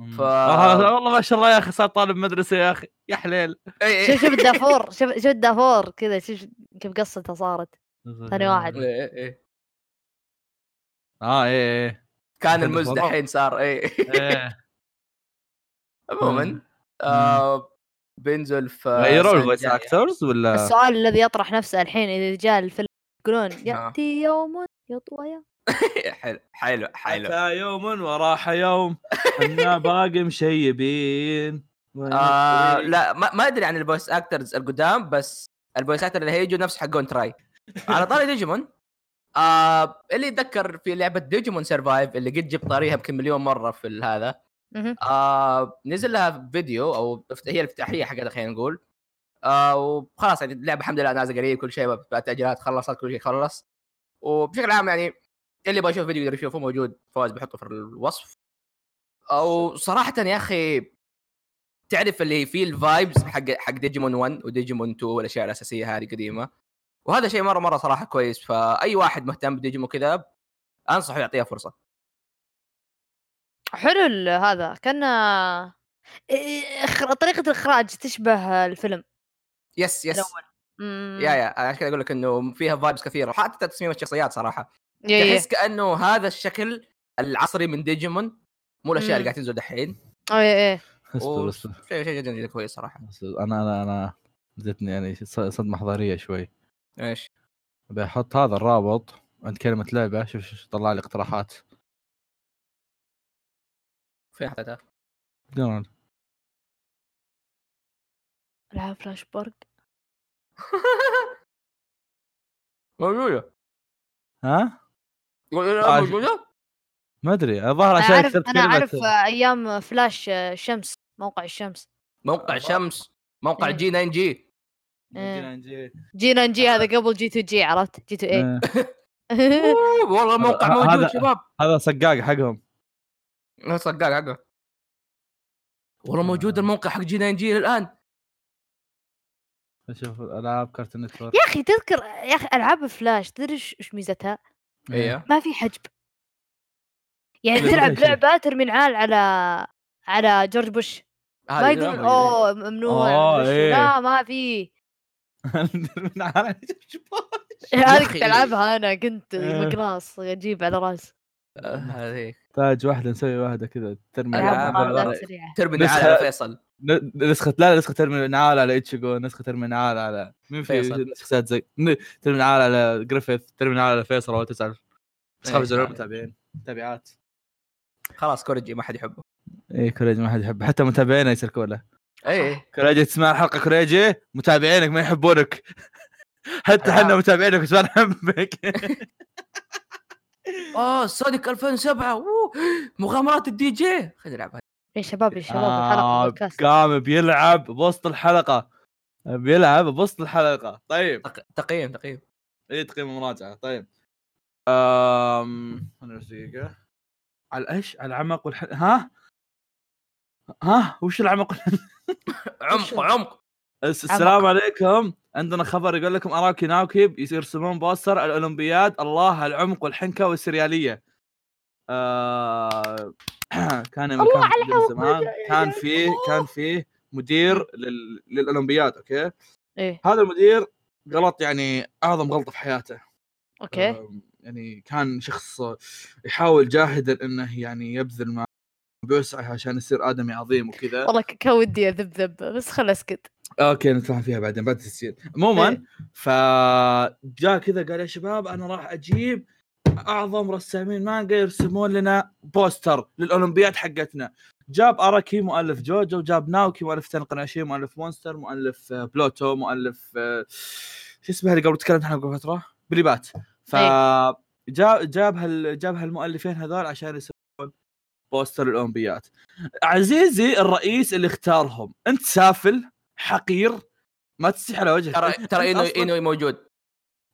S1: ف...
S2: ف-
S1: آه، والله ما شاء الله يا اخي صار طالب مدرسه يا اخي يا حليل
S2: اي
S3: شوف شوف الدافور شوف شوف الدافور كذا شوف كيف قصته صارت ثاني واحد.
S2: إي، إي.
S1: اه ايه ايه
S2: كان المز دحين صار اي
S1: إيه.
S2: عموما آه، بينزل في
S1: غيروا
S2: السنة
S1: الفويس
S2: الجاية.
S1: اكترز ولا
S3: السؤال الذي يطرح نفسه الحين اذا جاء الفيلم يقولون ياتي يوم يطوى
S2: حلو حلو حلو
S1: أتى يوم وراح يوم احنا باقي مشيبين
S2: آه، لا ما, ما ادري عن الفويس اكترز القدام بس الفويس اكتر اللي هيجوا نفس حقون تراي على طاري ديجيمون آه اللي يتذكر في لعبه ديجيمون سرفايف اللي قد جبت طاريها يمكن مليون مره في ال- هذا
S3: مهم.
S2: آه نزل لها فيديو او افت- هي الافتتاحيه حقتها خلينا نقول آه وخلاص يعني اللعبه الحمد لله نازله قريب كل شيء بعد تاجيلات خلصت كل شيء خلص وبشكل عام يعني اللي يبغى يشوف فيديو يقدر يشوفه موجود فواز بحطه في الوصف او صراحه يا اخي تعرف اللي فيه الفايبز حق حق ديجيمون 1 وديجيمون 2 والاشياء الاساسيه هذه قديمه وهذا شيء مره مره صراحه كويس فاي واحد مهتم بديجيمون كذا انصحه يعطيها فرصه
S3: حلو ال- هذا كان إيه، إخ- طريقه الاخراج تشبه الفيلم
S2: يس يس
S3: الأول. أمم.
S2: يا يا انا عشان كذا اقول لك انه فيها فايبس كثيره حتى تصميم الشخصيات صراحه
S3: يا- يا.
S2: تحس كانه هذا الشكل العصري من ديجيمون مو الاشياء اللي
S3: مم.
S2: قاعد تنزل دحين
S3: أو يا- يا.
S1: اصبر
S2: أوه.
S1: اصبر
S2: شيء شيء جدا جدا كويس صراحه
S1: اصبر. انا انا انا جتني يعني ص- صدمه حضاريه شوي
S2: ايش
S1: بحط هذا الرابط عند كلمه لعبه شوف شوف شوف طلع لي اقتراحات
S2: فين حطيتها؟
S1: دون.
S3: العاب فلاش بورك
S2: موجوده
S1: ها آه،
S2: موجوده؟
S1: ما ادري الظاهر
S3: انا
S1: عشان
S3: اعرف
S1: كتبت آه.
S3: انا
S1: كلمه
S3: اعرف ايام فلاش آه، شمس موقع الشمس
S2: موقع
S1: آه.
S2: شمس موقع
S3: إيه.
S2: جي 9 جي
S3: إيه.
S1: جي-
S3: جينا نجي هذا قبل جي 2 جي عرفت جي 2 اي
S1: إيه.
S2: والله موقع
S1: هذا-
S2: موجود
S1: هذا-
S2: شباب
S1: هذا صقاق حقهم
S2: لا صقاق حقه والله موجود
S1: آه.
S2: الموقع حق جي 9 جي الان
S1: اشوف العاب آه، كارتون نتورك
S3: يا اخي تذكر يا اخي العاب فلاش تدري إيش- ايش ميزتها؟
S2: ايوه
S3: ما في حجب يعني
S1: بس
S3: تلعب
S1: كل شيء.
S3: لعبه ترمي العال على على جورج بوش ما يقولون
S2: إيه.
S3: اوه ممنوع
S1: آه،
S3: مدري شو.
S1: إيه.
S3: لا ما في
S1: من عالم الشباب.
S3: هذه
S2: أخي.
S3: كنت العبها انا كنت
S1: إيه.
S3: مقراص اجيب على راسي
S2: آه، هذيك
S1: تاج واحده نسوي واحده كذا ترمي
S2: ألعاب
S1: العاب
S2: ألعاب
S1: على-
S3: معاملات
S2: رأيك.
S3: سريعه
S2: ترمي
S1: بس
S2: العالم
S1: ه-
S2: فيصل
S1: ن- نسخة لا لا، نسخة ترمي نعال على اتشيجو نسخة ترمي نعال على مين في
S2: فيصل.
S1: شخصيات زي ن- ترمي نعال على جريفيث ترمي نعال على فيصل ولا تسعف اصحاب
S2: إيه.
S1: زرار متابعين متابعات
S2: خلاص كوريجي ما حد يحبه
S1: اي كوريج إيه، ما حد يحب حتى متابعينا يسلكوا له
S2: اي
S1: كوريجي تسمع الحلقة كوريجي متابعينك ما يحبونك حتى احنا متابعينك بس ما نحبك
S2: اه سونيك 2007 أوه، مغامرات الدي جي خلينا نلعبها
S3: يا إيه، شباب يا شباب
S1: آه،
S3: الحلقه بودكاست
S1: قام بيلعب بوسط الحلقة بيلعب بوسط الحلقة طيب إيه
S2: تق- تقييم تقييم
S1: اي تقييم مراجعة طيب امم خلنا بس دقيقة على ايش؟ على العمق والحل ها؟ ها وش العمق؟
S2: عمق عمق
S1: الس- السلام عليكم عندنا خبر يقول لكم اراكي ناوكي بيس- يرسمون بوستر الاولمبياد الله على العمق والحنكه والسرياليه آه كان
S3: الله
S1: كان
S3: على
S1: من
S3: العمق
S1: زمان كان فيه كان فيه مدير لل... للاولمبياد اوكي
S3: ايه
S1: هذا المدير غلط يعني اعظم غلطه في حياته
S3: اوكي
S1: أم، يعني كان شخص يحاول جاهدا انه يعني يبذل ما بوسعه عشان يصير ادمي عظيم وكذا
S3: والله ك- كان ودي اذبذب بس خل اسكت
S1: اوكي نتفاهم فيها بعدين بعد التسجيل عموما
S3: إيه.
S1: فجاء كذا قال يا شباب انا راح اجيب اعظم رسامين مانجا يرسمون لنا بوستر للاولمبياد حقتنا جاب اراكي مؤلف جوجو وجاب ناوكي مؤلف تنقناشي مؤلف مونستر مؤلف آه، بلوتو مؤلف آه، شو اسمها اللي قبل تكلمت عنها قبل فتره بليبات ف جاب جاب هال جاب هالمؤلفين هذول عشان يسوون بوستر الاولمبياد عزيزي الرئيس اللي اختارهم انت سافل حقير ما تستحي على وجهك
S2: ترى ترى
S1: أنت
S2: انه
S1: أصلاً-
S2: انه موجود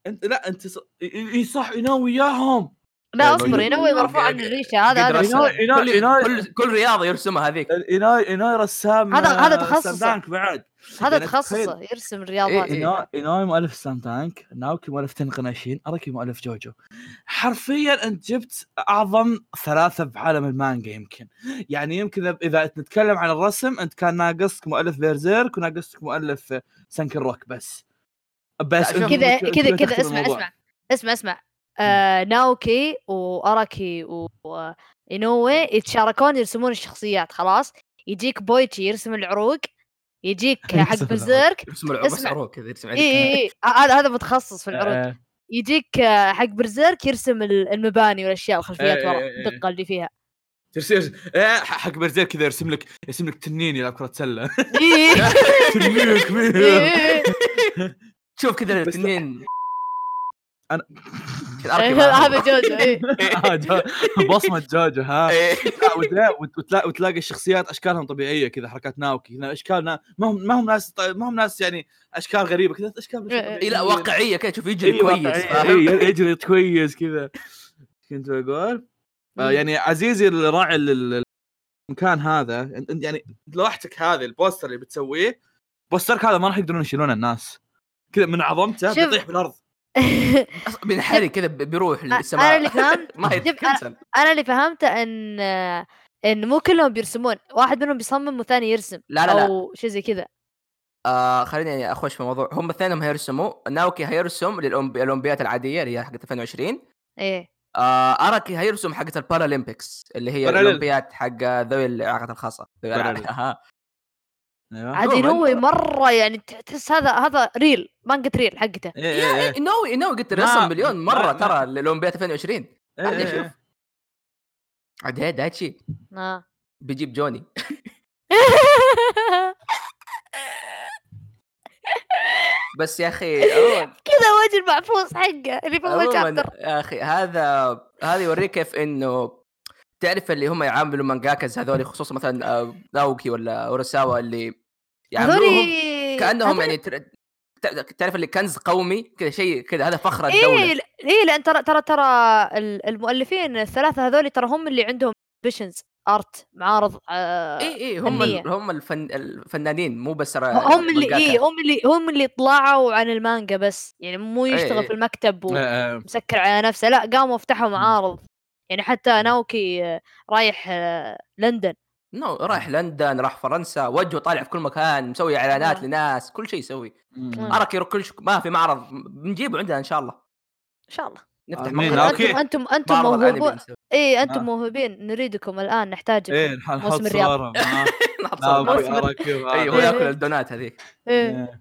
S1: انت لا انت ص... إي- إي صح ينام وياهم
S3: لا
S2: لا،
S1: آه،
S3: اصبر
S2: موجود.
S3: ينوي مرفوع عن الريشه هذا هذا
S2: قدر
S3: هو-
S2: أسرع.
S1: يناي يناي
S2: كل
S1: يناي
S2: كل, كل رياضه يرسمها هذيك
S1: إيه. يناي يناي رسام
S3: هذا- هذا
S1: آه،
S3: تخصصه.
S1: سلام دانك بعد
S3: هذا
S1: يعني تخيل.
S3: تخصصه يرسم الرياضات
S2: إيه.
S1: إيناي- ايناي مؤلف سلام دانك ناوكي مؤلف تنقناشين اراكي مؤلف جوجو حرفيا انت جبت اعظم ثلاثه بعالم المانجا يمكن يعني يمكن إذا- اذا نتكلم عن الرسم انت كان ناقصك مؤلف بيرزيرك وناقصك مؤلف سانكن روك بس بس
S2: لا، شوف.
S3: كذا
S1: أنت- أنت
S3: كذا كذا
S1: تخدم
S3: اسمع
S1: الموضوع.
S3: اسمع اسمع اسمع آه ناوكي واراكي و- وإينوي يتشاركون يرسمون الشخصيات خلاص يجيك بويتشي يرسم العروق يجيك
S1: يرسم
S3: حق
S1: العروق.
S3: بزيرك
S2: يرسم العروق بس
S3: اسمع. إيه.
S2: عروق كذا يرسم
S3: اي
S2: عليك
S3: اي إي. آه، هذا هذا متخصص في العروق
S1: آه،
S3: يجيك آه، حق برزيرك يرسم ال- المباني والاشياء الخلفيات
S1: إيه،
S3: ورا
S1: إيه، إيه.
S3: الدقه اللي فيها
S1: ترسم إيه، حق بيرزيرك كذا يرسم لك يرسم لك تنين يلعب كره سله
S3: إيه،
S1: تنين
S3: إيه،
S1: كبير
S3: إيه،
S2: شوف كذا
S1: بس-
S2: الاثنين
S1: أنا-
S3: إيه. هذا جوجو إيه.
S1: آه، جو- بصمه جوجو ها
S2: إيه.
S1: لا، وتلا- وت- وتلا- وتلاقي الشخصيات اشكالهم طبيعيه كذا حركات ناوكي هنا اشكال نا- ما هم ما هم ناس طي- ما هم ناس يعني اشكال غريبه كذا اشكال
S3: إيه، إيه.
S2: اي لا واقعيه كذا شوف
S1: إيه،
S2: يجري كويس فاهم؟
S1: كويس يجري إيه، كويس كذا كنت بقول آه، يعني عزيزي الراعي ال- ال- المكان هذا أنت- أنت يعني لوحتك هذه البوستر اللي بتسويه بوسترك هذا ما راح يقدرون يشيلونه الناس كذا من عظمته
S3: شوف.
S1: بيطيح بالارض
S2: أصلاً بينحرق كذا ب- بيروح للسماء
S3: انا آه، اللي فهمت
S2: ما
S3: شوف، أنا-
S2: يتكنسل
S3: انا اللي فهمته ان آه، ان مو كلهم بيرسمون واحد منهم بيصمم والثاني يرسم
S2: لا لا لا
S3: او شيء زي كذا
S2: آه خليني يعني اخش في الموضوع هم اثنينهم هيرسموا ناوكي هيرسم للاولمبيات العاديه اللي هي حقت 2020
S3: ايه
S2: آه اراكي هيرسم حقت البارالمبيكس اللي هي
S1: Paralympics.
S2: الاولمبيات حق ذوي آه. الاعاقات الخاصه ذوي الألعاب.
S1: Paralympics.
S2: أها.
S1: ايوه
S3: عاد
S2: عموماً.
S3: نوي مره يعني ت- تحس هذا هذا ريل مانجا ريل حقته
S1: إيه، إيه،
S2: يا
S1: إيه.
S2: إيه، ناوي ناوي قلت
S1: ما-
S2: رسم مليون
S1: ما-
S2: مره
S1: ما-
S2: ترى الاولمبيات 2020
S1: إيه،
S2: عاد
S1: إيه،
S2: شوف.
S1: إيه.
S2: عاد هي دايتشي
S3: آه.
S2: بيجيب جوني بس يا اخي عموماً-
S3: كذا وجه المعفوس حقه اللي في اول
S2: عموما
S3: شابتر
S2: يا اخي هذا هذا يوريك كيف انه تعرف اللي هم يعاملوا مانجاكاز هذول خصوصا مثلا آه، ناوكي ولا اوراساوا اللي
S1: يعني
S2: يعاملوهم
S3: هذولي-
S2: كانهم يعني تر- تع- تعرف اللي كنز قومي كذا شيء كذا هذا فخر الدوله
S3: ايه ايه لان ترى ترى ترى ال- المؤلفين الثلاثه هذول ترى هم اللي عندهم بيشنز ارت معارض آه
S2: اي اي إيه، هم
S3: فنية.
S2: ال- هم الفن الفنانين مو بس را-
S3: هم اللي
S2: مانجاكا.
S3: ايه هم اللي هم اللي طلعوا عن المانجا بس يعني مو يشتغل
S2: إيه.
S3: في المكتب
S1: آه،
S3: ومسكر على نفسه لا قاموا فتحوا معارض يعني حتى ناوكي آه، رايح آه، لندن
S2: نو رايح لندن راح فرنسا وجهه طالع في كل مكان مسوي اعلانات
S3: والله.
S2: لناس كل شيء يسوي
S1: آه.
S3: آه.
S2: اراكي كل شيء ما في معرض بنجيبه عندنا ان شاء الله
S3: ان شاء الله
S2: نفتح
S1: آمين.
S2: معرض.
S1: أوكي.
S3: انتم انتم انتم
S2: إيه، معرض أنمي إيه.
S3: موهوبون
S2: نسوي.
S3: ايه انتم
S1: آه.
S3: موهوبين نريدكم الان نحتاجكم
S1: ايه نح- نحط
S3: موسم الرياض.
S1: صورهم آه.
S2: نحط صور.
S1: ناوكي
S3: موسم الرياض.
S1: اراكي وهذا.
S3: آه.
S2: ايوه ياكل الدونات هذيك
S3: إيه.
S1: آه. إيه.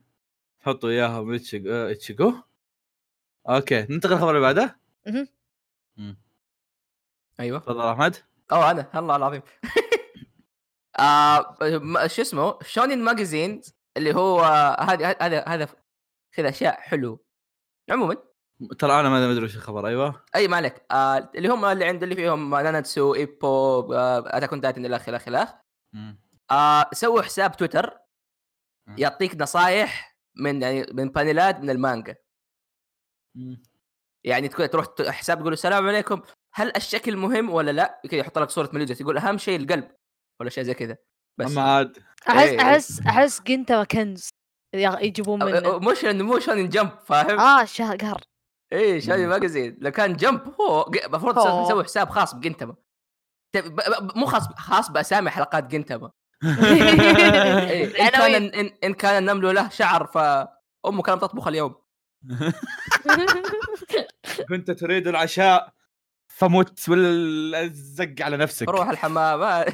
S1: حطوا اياهم إتشيج- آه، اتشيجو اوكي ننتقل
S2: آه.
S1: للخبر اللي بعده
S2: إيه،
S3: مهم.
S2: ايوه
S1: تفضل احمد
S2: اوه انا الله العظيم آه م- شو اسمه شونين ماجازين اللي هو هذا هذا هذا كذا اشياء حلو عموما
S1: ترى انا ما ما ادري وش الخبر ايوه
S2: اي ما عليك آه اللي هم اللي عند اللي فيهم ناناتسو ايبو آه اتاكون دايتن الى اخره الى اخره
S1: مم.
S2: آه سووا حساب تويتر
S1: مم.
S2: يعطيك نصائح من يعني من بانيلات من المانجا
S1: مم.
S2: يعني تكون تروح ت- حساب تقول السلام عليكم هل الشكل مهم ولا لا كذا يحط لك صوره مليجة يقول اهم شيء القلب ولا شيء زي كذا بس
S1: اما عاد
S3: احس
S2: إيه.
S3: احس احس جنتا وكنز يا- يجيبون
S2: أو- أو-
S3: منه
S2: مش انه مو شونين جمب فاهم؟
S3: اه شهر
S2: ايه شادي ماجازين لو كان جمب هو ج- المفروض
S3: أوه.
S2: نسوي حساب خاص بجنتما تب- ب- ب- مو خاص خاص باسامي حلقات جنتما إيه. ان كان
S3: العناوين.
S2: إن, ان كان النمل له شعر فامه كانت تطبخ اليوم
S1: كنت تريد العشاء فمت ولا زق على نفسك
S2: روح الحمام آه.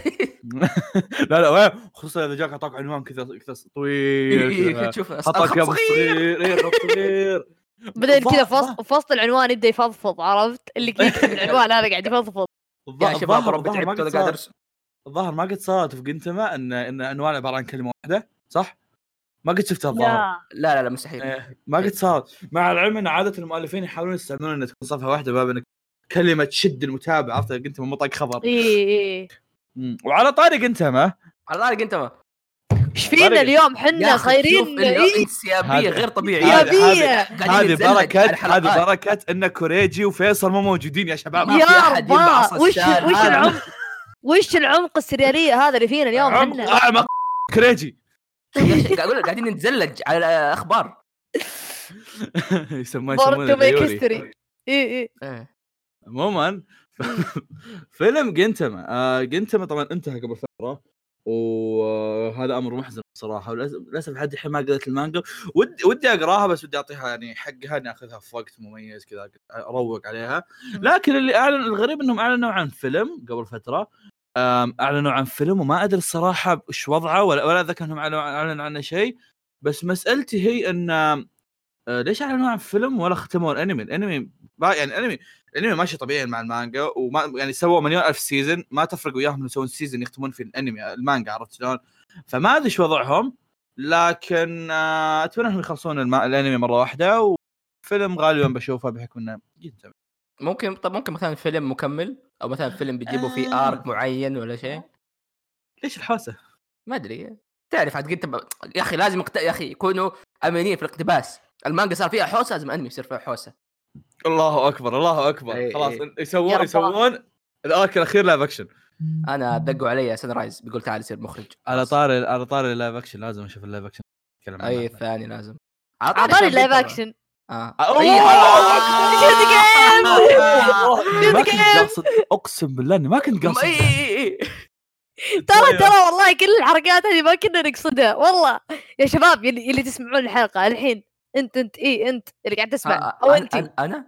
S1: لا لا وين خصوصا اذا جاك اعطاك عنوان كذا كذا طويل كذا.
S2: تشوف
S1: حطك يا
S2: الخط
S1: ابو
S2: إيه، صغير
S1: صغير إيه، خط صغير
S3: بعدين كذا
S1: ض-
S3: فص- فصل العنوان يبدا يفضفض عرفت اللي يكتب العنوان هذا قاعد يفضفض
S1: الظ-
S2: يا شباب
S1: الظاهر-
S2: ربي
S1: الظاهر ما قد
S2: تعبت ولا قاعد
S1: صار-
S2: ارسم
S1: الظاهر ما قد صارت في جنتما ان ان عنوان عباره عن كلمه واحده صح؟ ما قد شفتها الظاهر
S3: لا
S2: لا لا لا مستحيل
S1: إيه، ما قد صارت مع العلم ان عاده المؤلفين يحاولون يستعملون ان تكون صفحه واحده باب انك كلمه تشد المتابع عرفت جنتما مو طاق
S2: إيه.
S1: خبر
S3: اي اي
S1: مم. وعلى طاري جنتما
S2: على طارق انت ما
S3: ايش فينا
S1: بركة.
S3: اليوم
S2: يا
S3: حنا
S2: أخي شوف
S3: خيرين
S2: إنه
S3: إيه،
S2: انت سيابيه
S1: هذا-
S2: غير طبيعيه
S1: هذا-
S3: يابية
S2: قاعدين
S1: هذه
S2: نتزلج على
S1: بركه
S2: الحلقات.
S1: هذه بركه ان كوريجي وفيصل مو موجودين يا شباب
S2: ما في
S3: يا
S2: أحد ينبع
S3: رباه
S2: أصلاً
S3: وش
S2: الشارع
S3: وش
S2: هذا.
S3: العمق وش العمق السرياليه هذا اللي فينا اليوم
S1: عمق-
S3: حنا
S1: أعمق كوريجي
S2: يا شيخ، قاعد أقول لك قاعدين نتزلج على الاخبار
S1: يسمونه
S3: بورن تو
S1: يسمونه
S3: ميك
S1: ديوري.
S3: هيستوري اي اي
S2: إيه.
S1: عموما ف- فيلم جنتما آه جنتما طبعا انتهى قبل فتره وهذا امر محزن بصراحه وللأس- للاسف لحد الحين ما قريت المانجا ودي ودي اقراها بس ودي اعطيها يعني حقها اني اخذها في وقت مميز كذا اروق عليها لكن اللي اعلن الغريب انهم اعلنوا عن فيلم قبل فتره آم، اعلنوا عن فيلم وما ادري الصراحه ايش وضعه ولا ولا اتذكر انهم اعلنوا أعلنوا عنه شيء بس مسالتي هي ان آم، آه، ليش اعلنوا عن فيلم ولا ختموا الانمي؟ الانمي ما- يعني الانمي الانمي ماشي طبيعي مع المانجا وما يعني سووا مليون الف سيزون ما تفرق وياهم انه يسوون سيزون يختمون في الانمي المانجا عرفت شلون؟ فما ادري ايش وضعهم لكن آه، اتمنى انهم يخلصون الما- الانمي مره واحده وفيلم غالبا بشوفه بحكم انه جدا
S2: ممكن طب ممكن مثلا فيلم مكمل او مثلا فيلم بيجيبوا فيه
S1: آه.
S2: ارك معين ولا شيء
S1: ليش الحوسه؟
S2: ما ادري تعرف عاد قلت ب- يا اخي لازم اقت... يا اخي كونوا امنين في الاقتباس المانجا صار فيها حوسه لازم الانمي يصير فيها حوسه
S1: الله اكبر الله
S2: إي-
S1: اكبر إيه، خلاص
S2: إي.
S3: يا
S1: يسوون
S3: رب.
S1: يسوون الارك الاخير لايف اكشن
S2: انا دقوا علي سن رايز بيقول تعال يصير مخرج
S1: على طاري على طاري اللايف اكشن لازم اشوف اللايف اكشن نتكلم عنه.
S2: اي الثاني لازم على
S3: اعطاني
S2: شباب
S3: اللايف
S2: بيتر.
S3: اكشن
S2: اه
S1: أوه،
S2: أي-
S1: الله
S2: آه.
S1: ما كنت قاصد اقسم بالله اني ما إيه، كنت قاصد
S2: اي اي اي
S3: ترى
S2: طيب.
S3: ترى والله كل الحركات هذه ما كنا نقصدها والله يا شباب يلي, يلي تسمعون الحلقه الحين انت انت اي انت اللي قاعد تسمع
S2: آه،
S3: او
S2: أنا-
S3: انت
S2: أنا- انا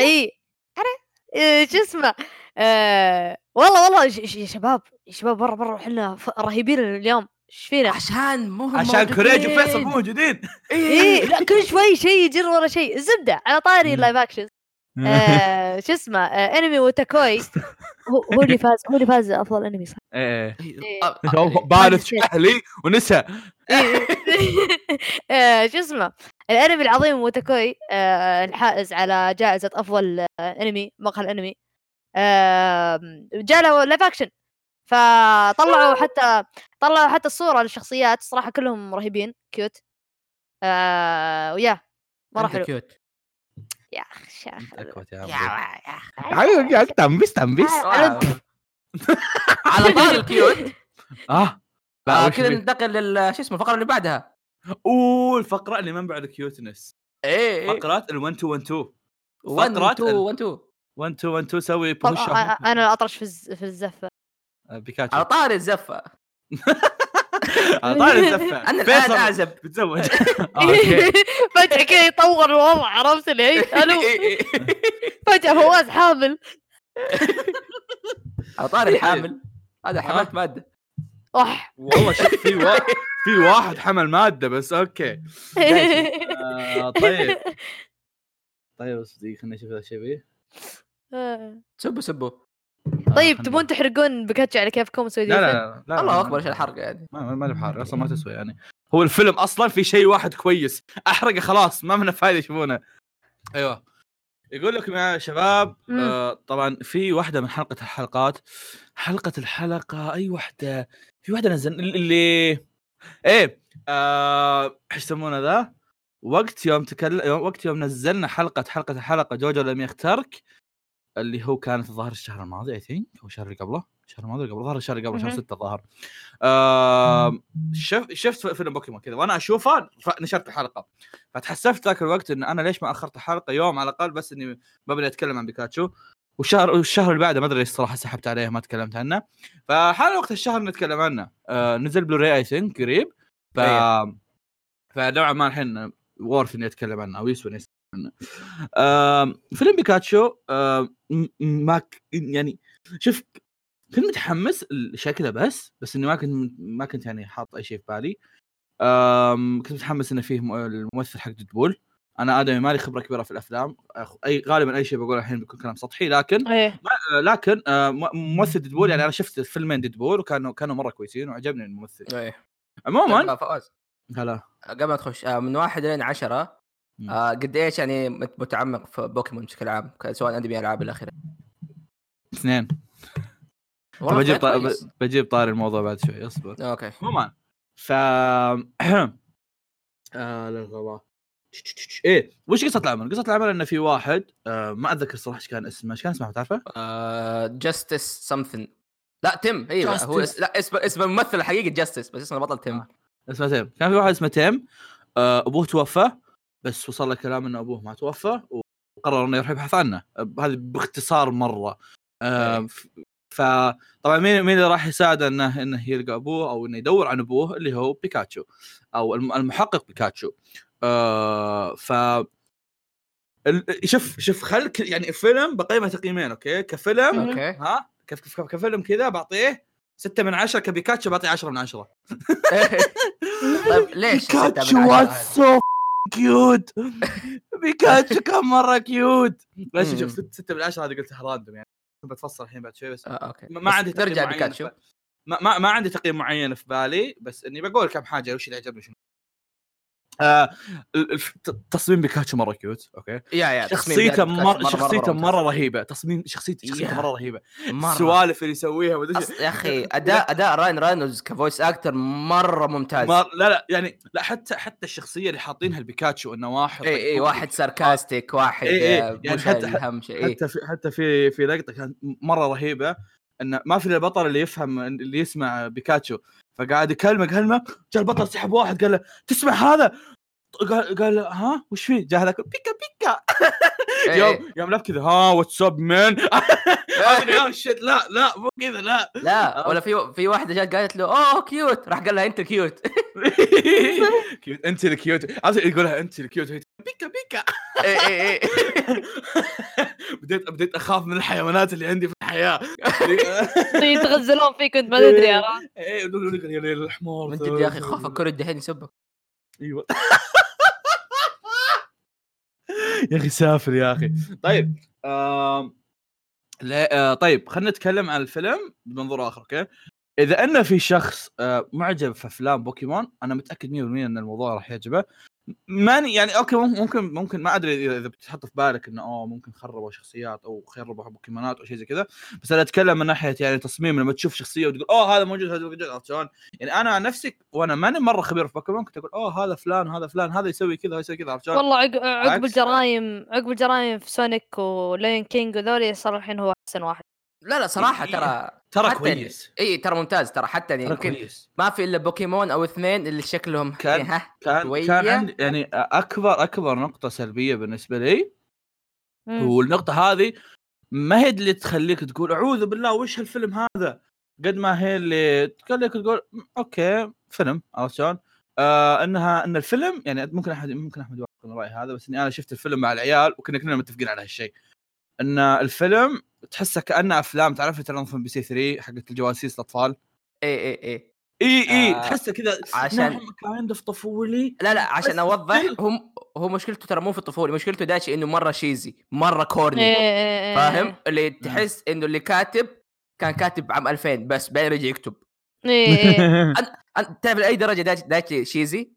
S3: اي انا إيه، شو اسمه آه والله والله ش- ش- يا شباب يا شباب مره مره احنا ف- رهيبين اليوم ايش فينا؟
S2: عشان مو هم
S1: عشان كوريج
S2: موجودين.
S1: وفيصل مو موجودين
S2: إيه.
S3: اي إيه. لا كل شوي شيء يجر ورا شيء الزبده على طاري
S1: مم.
S3: اللايف اكشن آه شو اسمه آه انمي وتاكوي هو هو اللي فاز هو اللي فاز افضل انمي صح؟
S1: ايه
S2: إيه. آه،
S1: هو
S2: آه،
S1: بارث
S3: شيء.
S1: اهلي ونسى
S3: آه، شو اسمه الانمي العظيم موتاكوي آه، الحائز على جائزه افضل آه، انمي مقهى الانمي آم، جاء له لايف اكشن فطلعوا حتى طلعوا حتى الصوره للشخصيات صراحه كلهم رهيبين كيوت آه، ويا مره
S2: أنت
S3: حلو
S2: كيوت
S3: يا أيوة. اخي شيخ.
S1: حبيبي قاعد تنبس تنبس
S3: على-
S2: آه. على طاري الكيوت
S1: اه لا
S2: آه
S1: وش
S2: كذا
S1: بي-
S2: ننتقل لل شو اسمه الفقره اللي بعدها
S1: اوه الفقره اللي من بعد كيوتنس إيه،
S3: إيه.
S2: ايه ايه
S1: فقرات ال 1 2 1 2
S2: 1
S1: فقرات
S2: 2 1 2
S1: 1 2 1 2 سوي
S3: طب
S1: بوش
S3: آه، آه، انا الاطرش في الز- في الزفه
S2: على
S1: بيكاتشو
S2: طاري الزفه
S1: على طاري الزفه
S2: انا الان
S1: فيصل
S2: اعزب
S1: بتزوج آه، أوكي.
S3: فجاه كذا يطور الوضع عرفت اللي الو
S2: إيه، إيه، إيه.
S3: فجاه فواز حامل
S2: على طاري الحامل هذا حملت
S1: آه.
S2: ماده
S3: اح
S1: والله شوف في واحد في واحد حمل ماده بس اوكي آه، طيب طيب بس دقيقة خليني اشوف اذا شيء فيه
S2: سبوا سبوا
S1: آه،
S3: آه. طيب
S1: خلنا-
S3: تبون تحرقون بكاتشي على كيفكم وسوي
S1: لا لا
S3: ديفن؟
S1: لا, لا
S2: الله
S1: ما-
S2: اكبر ايش الحرق يعني
S1: ما ما لي بحارق اصلا ما تسوى يعني هو الفيلم اصلا في شيء واحد كويس احرقه خلاص ما منه فايده يشوفونه ايوه يقول لكم يا شباب
S3: مم.
S1: آه طبعا في واحده من حلقه الحلقات حلقه الحلقه اي واحده في واحده نزل اللي ايه آه، ايش يسمونه ذا وقت يوم تكلم وقت يوم نزلنا حلقه حلقه الحلقه جوجو لم يخترك اللي هو كانت الظاهر الشهر الماضي اي ثينك او الشهر اللي قبله الشهر الماضي اللي قبله ظهر الشهر اللي قبله شهر
S3: مهم.
S1: 6 الظاهر آم، شف شفت فيلم بوكيمون كذا وانا اشوفه ف- نشرت الحلقه فتحسفت ذاك الوقت ان انا ليش ما اخرت الحلقه يوم على الاقل بس اني ببدا اتكلم عن بيكاتشو والشهر والشهر اللي بعده ما ادري ليش الصراحه سحبت عليه ما تكلمت عنه فحان وقت الشهر نتكلم عنه آه نزل بلوراي اي ثينك قريب ف فنوعا ما الحين وورث اني اتكلم عنه او يسوى اني اتكلم عنه آم، فيلم بيكاتشو آم، م- م- ما ك- يعني شوف كنت متحمس لشكله بس بس اني ما كنت ما كنت يعني حاط اي شيء في بالي آم، كنت متحمس انه فيه مو- الممثل حق ديدبول انا ادمي مالي خبره كبيره في الافلام أخ- اي غالبا اي شيء بقوله الحين بيكون كلام سطحي لكن
S3: ايه
S1: آه، لكن آه، م- ممثل ديدبول يعني انا شفت فيلمين ديدبول وكانوا كانوا مره كويسين وعجبني الممثل
S2: ايه
S1: عموما
S2: طيب، فواز
S1: هلا
S2: قبل ما تخش آه، من واحد لين عشرة
S1: مم.
S2: آه، قد ايش يعني مت- متعمق في بوكيمون بشكل عام ك- سواء انمي العاب الى اخره
S1: اثنين طب طيب.
S2: والله
S1: بجيب
S2: طلعت
S1: طار...
S2: كويس.
S1: بجيب طاري الموضوع بعد شوي اصبر
S2: اوكي
S1: عموما ف آه لا غلا ايه وش قصه العمل؟ قصه العمل انه في واحد آه ما اتذكر صراحه ايش كان اسمه، ايش كان اسمه تعرفه؟
S2: جاستس سمثين آه، لا تيم ايوه هو
S1: Justice.
S2: اس... لا اسم اسم الممثل الحقيقي جاستس بس اسم البطل تيم
S1: آه. اسمه تيم، كان في واحد اسمه تيم آه ابوه توفى بس وصل له كلام انه ابوه ما توفى وقرر انه يروح يبحث عنه، آه، هذا باختصار مره. آه
S2: إيه.
S1: ف- فطبعا مين مين اللي راح يساعده انه انه يلقى ابوه او انه يدور عن ابوه اللي هو بيكاتشو او الم- المحقق بيكاتشو. آه ف ال- شوف شوف خلك يعني الفيلم بقيمه تقييمين اوكي كفيلم
S2: اوكي
S1: ها كيف كيف كفيلم كذا بعطيه ستة من عشرة كبيكاتشو بعطيه عشرة من عشرة
S2: طيب ليش ستة من عشرة؟
S1: سو كيوت بيكاتشو كان مرة كيوت ليش
S2: مم.
S1: شوف ست- ستة من عشرة هذه قلتها راندوم يعني بتفصل الحين بعد شوي بس
S2: آه، اوكي
S1: ما- ما
S2: بس
S1: عندي تقييم
S2: نرجع
S1: معين
S2: بيكاتشو
S1: في- ما, ما ما عندي تقييم معين في بالي بس اني بقول كم حاجه وش اللي عجبني شنو آه ال- الف- ت- تصميم بيكاتشو مره كيوت اوكي
S2: يا يا تصميم
S1: شخصيته
S2: بيكاتشو مرة-
S1: مر...
S2: مرة-
S1: شخصيته
S2: مرة
S1: مره رهيبه تصميم شخصيته شخصيته
S2: يا.
S1: مره رهيبه
S2: مرة.
S1: السوالف اللي يسويها وذي
S2: أص- يا اخي اداء اداء راين راينولدز كفويس اكتر مره ممتاز
S1: ما لا لا يعني لا حتى حتى الشخصيه اللي حاطينها البيكاتشو انه واحد
S2: اي اي إيه، واحد ساركاستيك واحد
S1: إي إي،
S2: آه،
S1: يعني
S2: مش
S1: حتى-
S2: الهم شيء إي.
S1: حتى في حتى في في لقطه كانت مره رهيبه انه ما في الا البطل اللي يفهم اللي يسمع بيكاتشو فقاعد يكلمه كلمه جاء البطل سحب واحد قال له تسمع هذا قال قال له، ها وش فيه؟ جاء هذاك بيكا بيكا
S2: إي، إي.
S1: يوم يوم لف كذا ها واتساب مان شت لا لا مو كذا لا
S2: لا ولا في في واحده جات قالت له اوه كيوت راح قال لها انت كيوت
S1: كيوت انت الكيوت عرفت يقولها انت الكيوت هي بيكا بيكا
S2: إي، إي، إي.
S1: بديت بديت اخاف من الحيوانات اللي عندي في الحياه
S3: يتغزلون فيك وانت طيب، ما
S2: إيه،
S3: تدري يا ران.
S1: ايه يقول لك يا ليل الحمار
S2: من جد يا اخي خوف الكوري الدحين يسبك
S1: ايوه يا اخي سافر يا اخي طيب آم... لا آه طيب خلينا نتكلم عن الفيلم بمنظور اخر اوكي اذا ان في شخص آه معجب في افلام بوكيمون انا متاكد 100% ان الموضوع راح يعجبه ماني يعني اوكي مم- ممكن ممكن ما ادري اذا إذا بتحط في بالك انه اوه ممكن خربوا شخصيات او خربوا بوكيمونات او شيء زي كذا بس انا اتكلم من ناحيه يعني تصميم لما تشوف شخصيه وتقول اوه هذا موجود هذا موجود عرفت شلون؟ يعني انا عن نفسي وانا ماني مره خبير في بوكيمون كنت اقول اوه هذا فلان هذا فلان هذا يسوي كذا هذا يسوي كذا عرفت شلون؟
S3: والله عق- عقب
S1: عكس-
S3: الجرايم عقب الجرايم في سونيك ولين كينج وذولي صار الحين هو احسن واحد
S2: لا لا صراحه ترى
S1: ترى
S2: حتى
S1: كويس
S2: اي ترى ممتاز ترى حتى يعني
S1: ترى
S2: يمكن
S1: كويس
S2: ما في الا بوكيمون او اثنين اللي شكلهم
S1: كان-
S2: ها
S1: كان
S2: شوية.
S1: كان عندي يعني اكبر اكبر نقطه سلبيه بالنسبه لي
S3: مم.
S1: والنقطه هذه ما هي اللي تخليك تقول اعوذ بالله وش هالفيلم هذا قد ما هي اللي تخليك تقول "م، اوكي فيلم عرفت شلون؟ آه انها ان الفيلم يعني ممكن احد ممكن احمد يوافق على رايي هذا بس اني انا شفت الفيلم مع العيال وكنا كلنا متفقين على هالشيء ان الفيلم تحسه كانه افلام تعرف ترى ام بي سي 3 حقت الجواسيس الاطفال
S2: اي اي اي
S1: اي اي
S2: آه،
S1: تحسه كذا
S2: عشان-
S1: نعم كايند اوف طفولي
S2: لا لا عشان
S1: بس
S2: اوضح هم هو مشكلته ترى مو في الطفوله مشكلته داشي انه مره شيزي مره
S3: إيه، إيه،
S2: كورني
S3: إيه، إيه.
S2: فاهم اللي تحس انه اللي كاتب كان كاتب عام 2000 بس بعدين رجع يكتب
S3: إيه، إيه.
S2: أنت تعرف لاي درجه داشي, داشي شيزي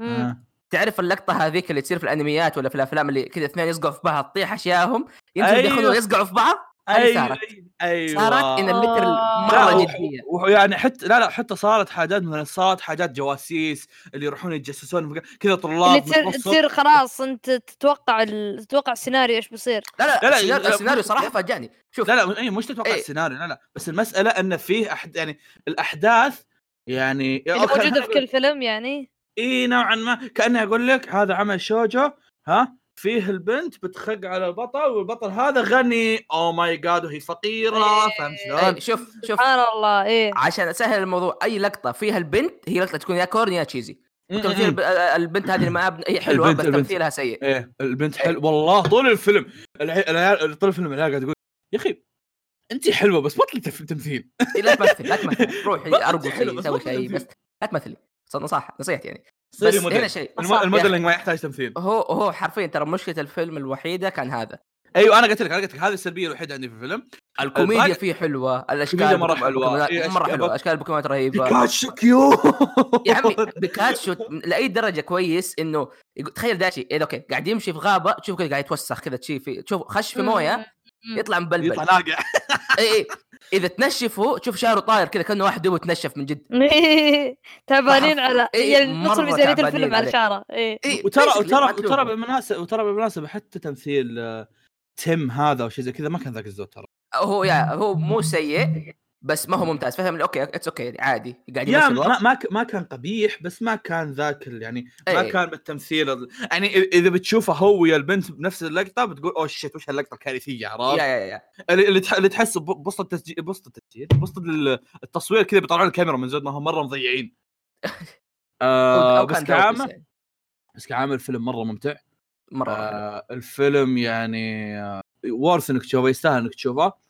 S3: مم.
S1: آه.
S2: آه. تعرف اللقطه هذيك اللي تصير في الانميات ولا في الافلام اللي كذا اثنين يصقعوا في بعض تطيح اشياءهم يمسكوا
S1: أيوة.
S2: يدخلوا يصقعوا في بعض هذه صارت
S1: ايوه
S2: صارت ان المتر
S3: آه.
S1: لا،
S2: مره
S1: و-
S2: جديه
S1: ويعني حتى لا لا حتى صارت حاجات مثلا صارت حاجات جواسيس اللي يروحون يتجسسون في مكان- كذا
S3: اللي
S1: طلاب
S3: تصير
S1: متوسط.
S3: تصير خلاص انت تتوقع ال... تتوقع السيناريو ايش بيصير
S2: لا لا,
S1: لا، لا،
S2: السيناريو,
S1: لا،
S2: السيناريو
S1: مش-
S2: صراحه فاجأني شوف
S1: لا لا اي مش تتوقع
S2: إيه.
S1: السيناريو لا لا بس المساله ان فيه أحد يعني الاحداث يعني
S3: اللي
S1: أوكي،
S3: موجوده
S1: خلينا
S3: في كل فيلم يعني
S1: اي نوعا ما كاني اقول لك هذا عمل شوجو ها فيه البنت بتخق على البطل والبطل هذا غني او ماي جاد وهي فقيره
S3: إيه.
S1: فاهم
S2: إيه،
S1: شلون؟
S2: شوف شوف
S3: سبحان الله ايه
S2: عشان اسهل الموضوع اي لقطه فيها البنت هي لقطه تكون يا كورن يا تشيزي تمثيل
S1: م-
S2: الب- آه،
S1: م-
S2: البنت هذه اللي معاها ابن- هي حلوه
S1: البنت-
S2: بس
S1: البنت.
S2: تمثيلها سيء
S1: ايه البنت حلو والله طول الفيلم العي- العيال طول الفيلم العيال قاعد تقول يا اخي انت حلوه بس بطل تف- تمثيل
S2: إيه، لا تمثل لا تمثل روحي
S1: بطل
S2: ارقصي
S1: حلو، بس
S2: سوي
S1: بطل
S2: شيء
S1: تمثيل.
S2: بس لا تمثلي صد- نصح نصيحتي يعني
S1: صيري
S2: بس
S1: موديل.
S2: هنا شيء
S1: الم-
S2: صح، يا أخي.
S1: الموديلنج ما يحتاج تمثيل
S2: هو هو حرفيا ترى مشكله الفيلم الوحيده كان هذا
S1: ايوه انا قلت لك انا قلت لك هذه السلبيه الوحيده عندي في الفيلم
S2: الكوميديا
S1: الباقي-
S2: فيه حلوه الاشكال
S1: الكوميديا مرة
S2: بوكيمون-
S1: حلوة.
S2: بوكيمونات-
S1: إيه،
S2: مره
S1: أشكال
S2: حلوه
S1: بوك-
S2: اشكال بوكيمونات رهيبه
S1: بيكاتشو كيو
S2: يا عمي بيكاتشو لاي درجه كويس انه يقول- تخيل داشي إيه اوكي قاعد يمشي في غابه تشوف كذا قاعد يتوسخ كذا تشي في تشوف خش في مويه
S3: مم.
S2: يطلع مبلبل
S1: يطلع ناقع
S2: اي اي اذا تنشفه تشوف شعره طاير كذا كانه واحد دوبه تنشف من جد
S3: تعبانين على
S2: إيه،
S3: يعني نص
S2: مرة
S3: ميزانيه
S2: تعبانين
S3: الفيلم على
S2: عليه.
S3: شعره إيه. اي
S2: اي
S1: وترى
S2: basically
S1: وترى
S2: ما تلومه.
S1: وترى بالمناسبه وترى بالمناسبه حتى تمثيل آه، تيم هذا او شيء زي كذا ما كان ذاك الزود ترى
S2: هو يا هو مو سيء بس ما هو ممتاز فاهم اوكي اتس اوكي عادي قاعد
S1: يا
S2: يمثل
S1: ما ما, ك- ما كان قبيح بس ما كان ذاك ال- يعني ما
S2: إيه.
S1: كان بالتمثيل ال- يعني إذ- اذا بتشوفه هو ويا البنت بنفس اللقطه بتقول اوه شيت وش هاللقطه الكارثيه
S2: يا
S1: عرفت؟
S2: يا يا
S1: اللي اللي تح- اللي تحس ب- بوسط التسجيل بوسط التسجيل بوسط ال- التصوير كذا بيطلعون الكاميرا من زود ما هم مره مضيعين.
S2: أو-
S1: آه
S2: أو
S1: بس
S2: كان دوبلس
S1: كعامه
S2: يعني.
S1: بس كعامه الفيلم مره ممتع
S2: مره آه.
S1: آه الفيلم يعني آه وارث انك تشوفه يستاهل انك تشوفه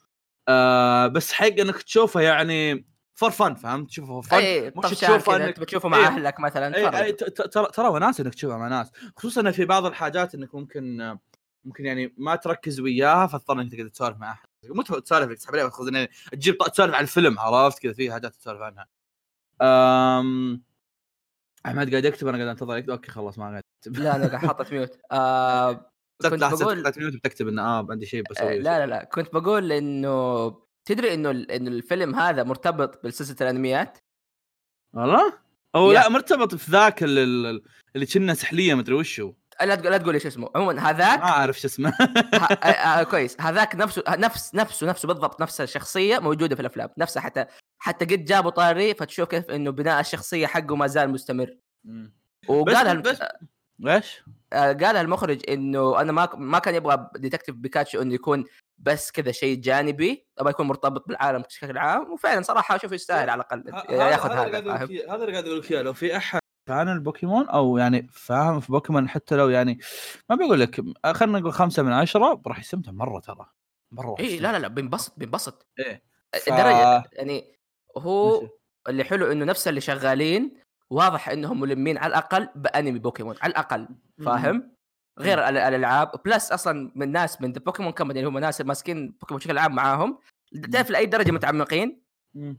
S1: آه بس حق انك تشوفه يعني فور فن فهمت تشوفه فور فن
S2: اي
S1: مش
S2: طفشان
S1: تشوفه
S2: كذا
S1: إنك-
S2: تبي تشوفه مع
S1: إيه.
S2: اهلك مثلا تفرج.
S1: اي ت- ت- ترى ترى وناس انك تشوفها مع ناس خصوصا إن في بعض الحاجات انك ممكن آه، ممكن يعني ما تركز وياها فتضطر انك تقعد تسولف مع احد مو تف- تسولف تسحب عليه وتاخذ يعني تجيب ط- تسولف عن الفيلم عرفت كذا في حاجات تسولف عنها أم... احمد قاعد يكتب انا قاعد انتظر يكتب اوكي خلاص ما قاعد اكتب
S2: لا انا قاعد حاطط ميوت آه كنت
S1: لا، حسيت-
S2: بقول-
S1: لا، تميوت بتكتب انه اه عندي شيء بسويه
S2: لا لا لا كنت بقول انه تدري انه ال- انه الفيلم هذا مرتبط بسلسله الانميات
S1: والله؟ او
S2: يا.
S1: لا مرتبط في ذاك ال- ال- اللي كنا سحليه مدري وش هو
S2: لا تقول لا تقول ايش اسمه عموما
S1: ما
S2: هذاك
S1: اعرف شو اسمه
S2: ه- آه، آه، كويس هذاك نفسه ه- نفس نفسه نفسه بالضبط نفس الشخصيه موجوده في الافلام نفسها حتى حتى قد جابوا طاري فتشوف كيف انه بناء الشخصيه حقه ما زال مستمر وقالها الم-
S1: بس- ايش؟
S2: آه، قالها المخرج انه انا ما ما كان يبغى ديتكتيف بيكاتشو انه يكون بس كذا شيء جانبي ابغى يكون مرتبط بالعالم بشكل عام وفعلا صراحه اشوفه يستاهل على الاقل ياخذ هذا فاهم
S1: هذا اللي قاعد اقول لك إياه، لو في احد فان البوكيمون او يعني فاهم في بوكيمون حتى لو يعني ما بقول لك خلينا نقول خمسة من عشرة راح يستمتع مره ترى مره
S2: اي إيه، لا لا لا بينبسط بينبسط
S1: إيه. ف-
S2: الدرجه يعني هو
S1: ماشي.
S2: اللي حلو انه نفس اللي شغالين واضح انهم ملمين على الاقل بانمي بوكيمون على الاقل فاهم غير ال- الالعاب بلس اصلا من ناس من بوكيمون كمباني اللي هم ناس ماسكين بوكيمون بشكل عام معاهم تعرف لاي درجه متعمقين
S1: مم.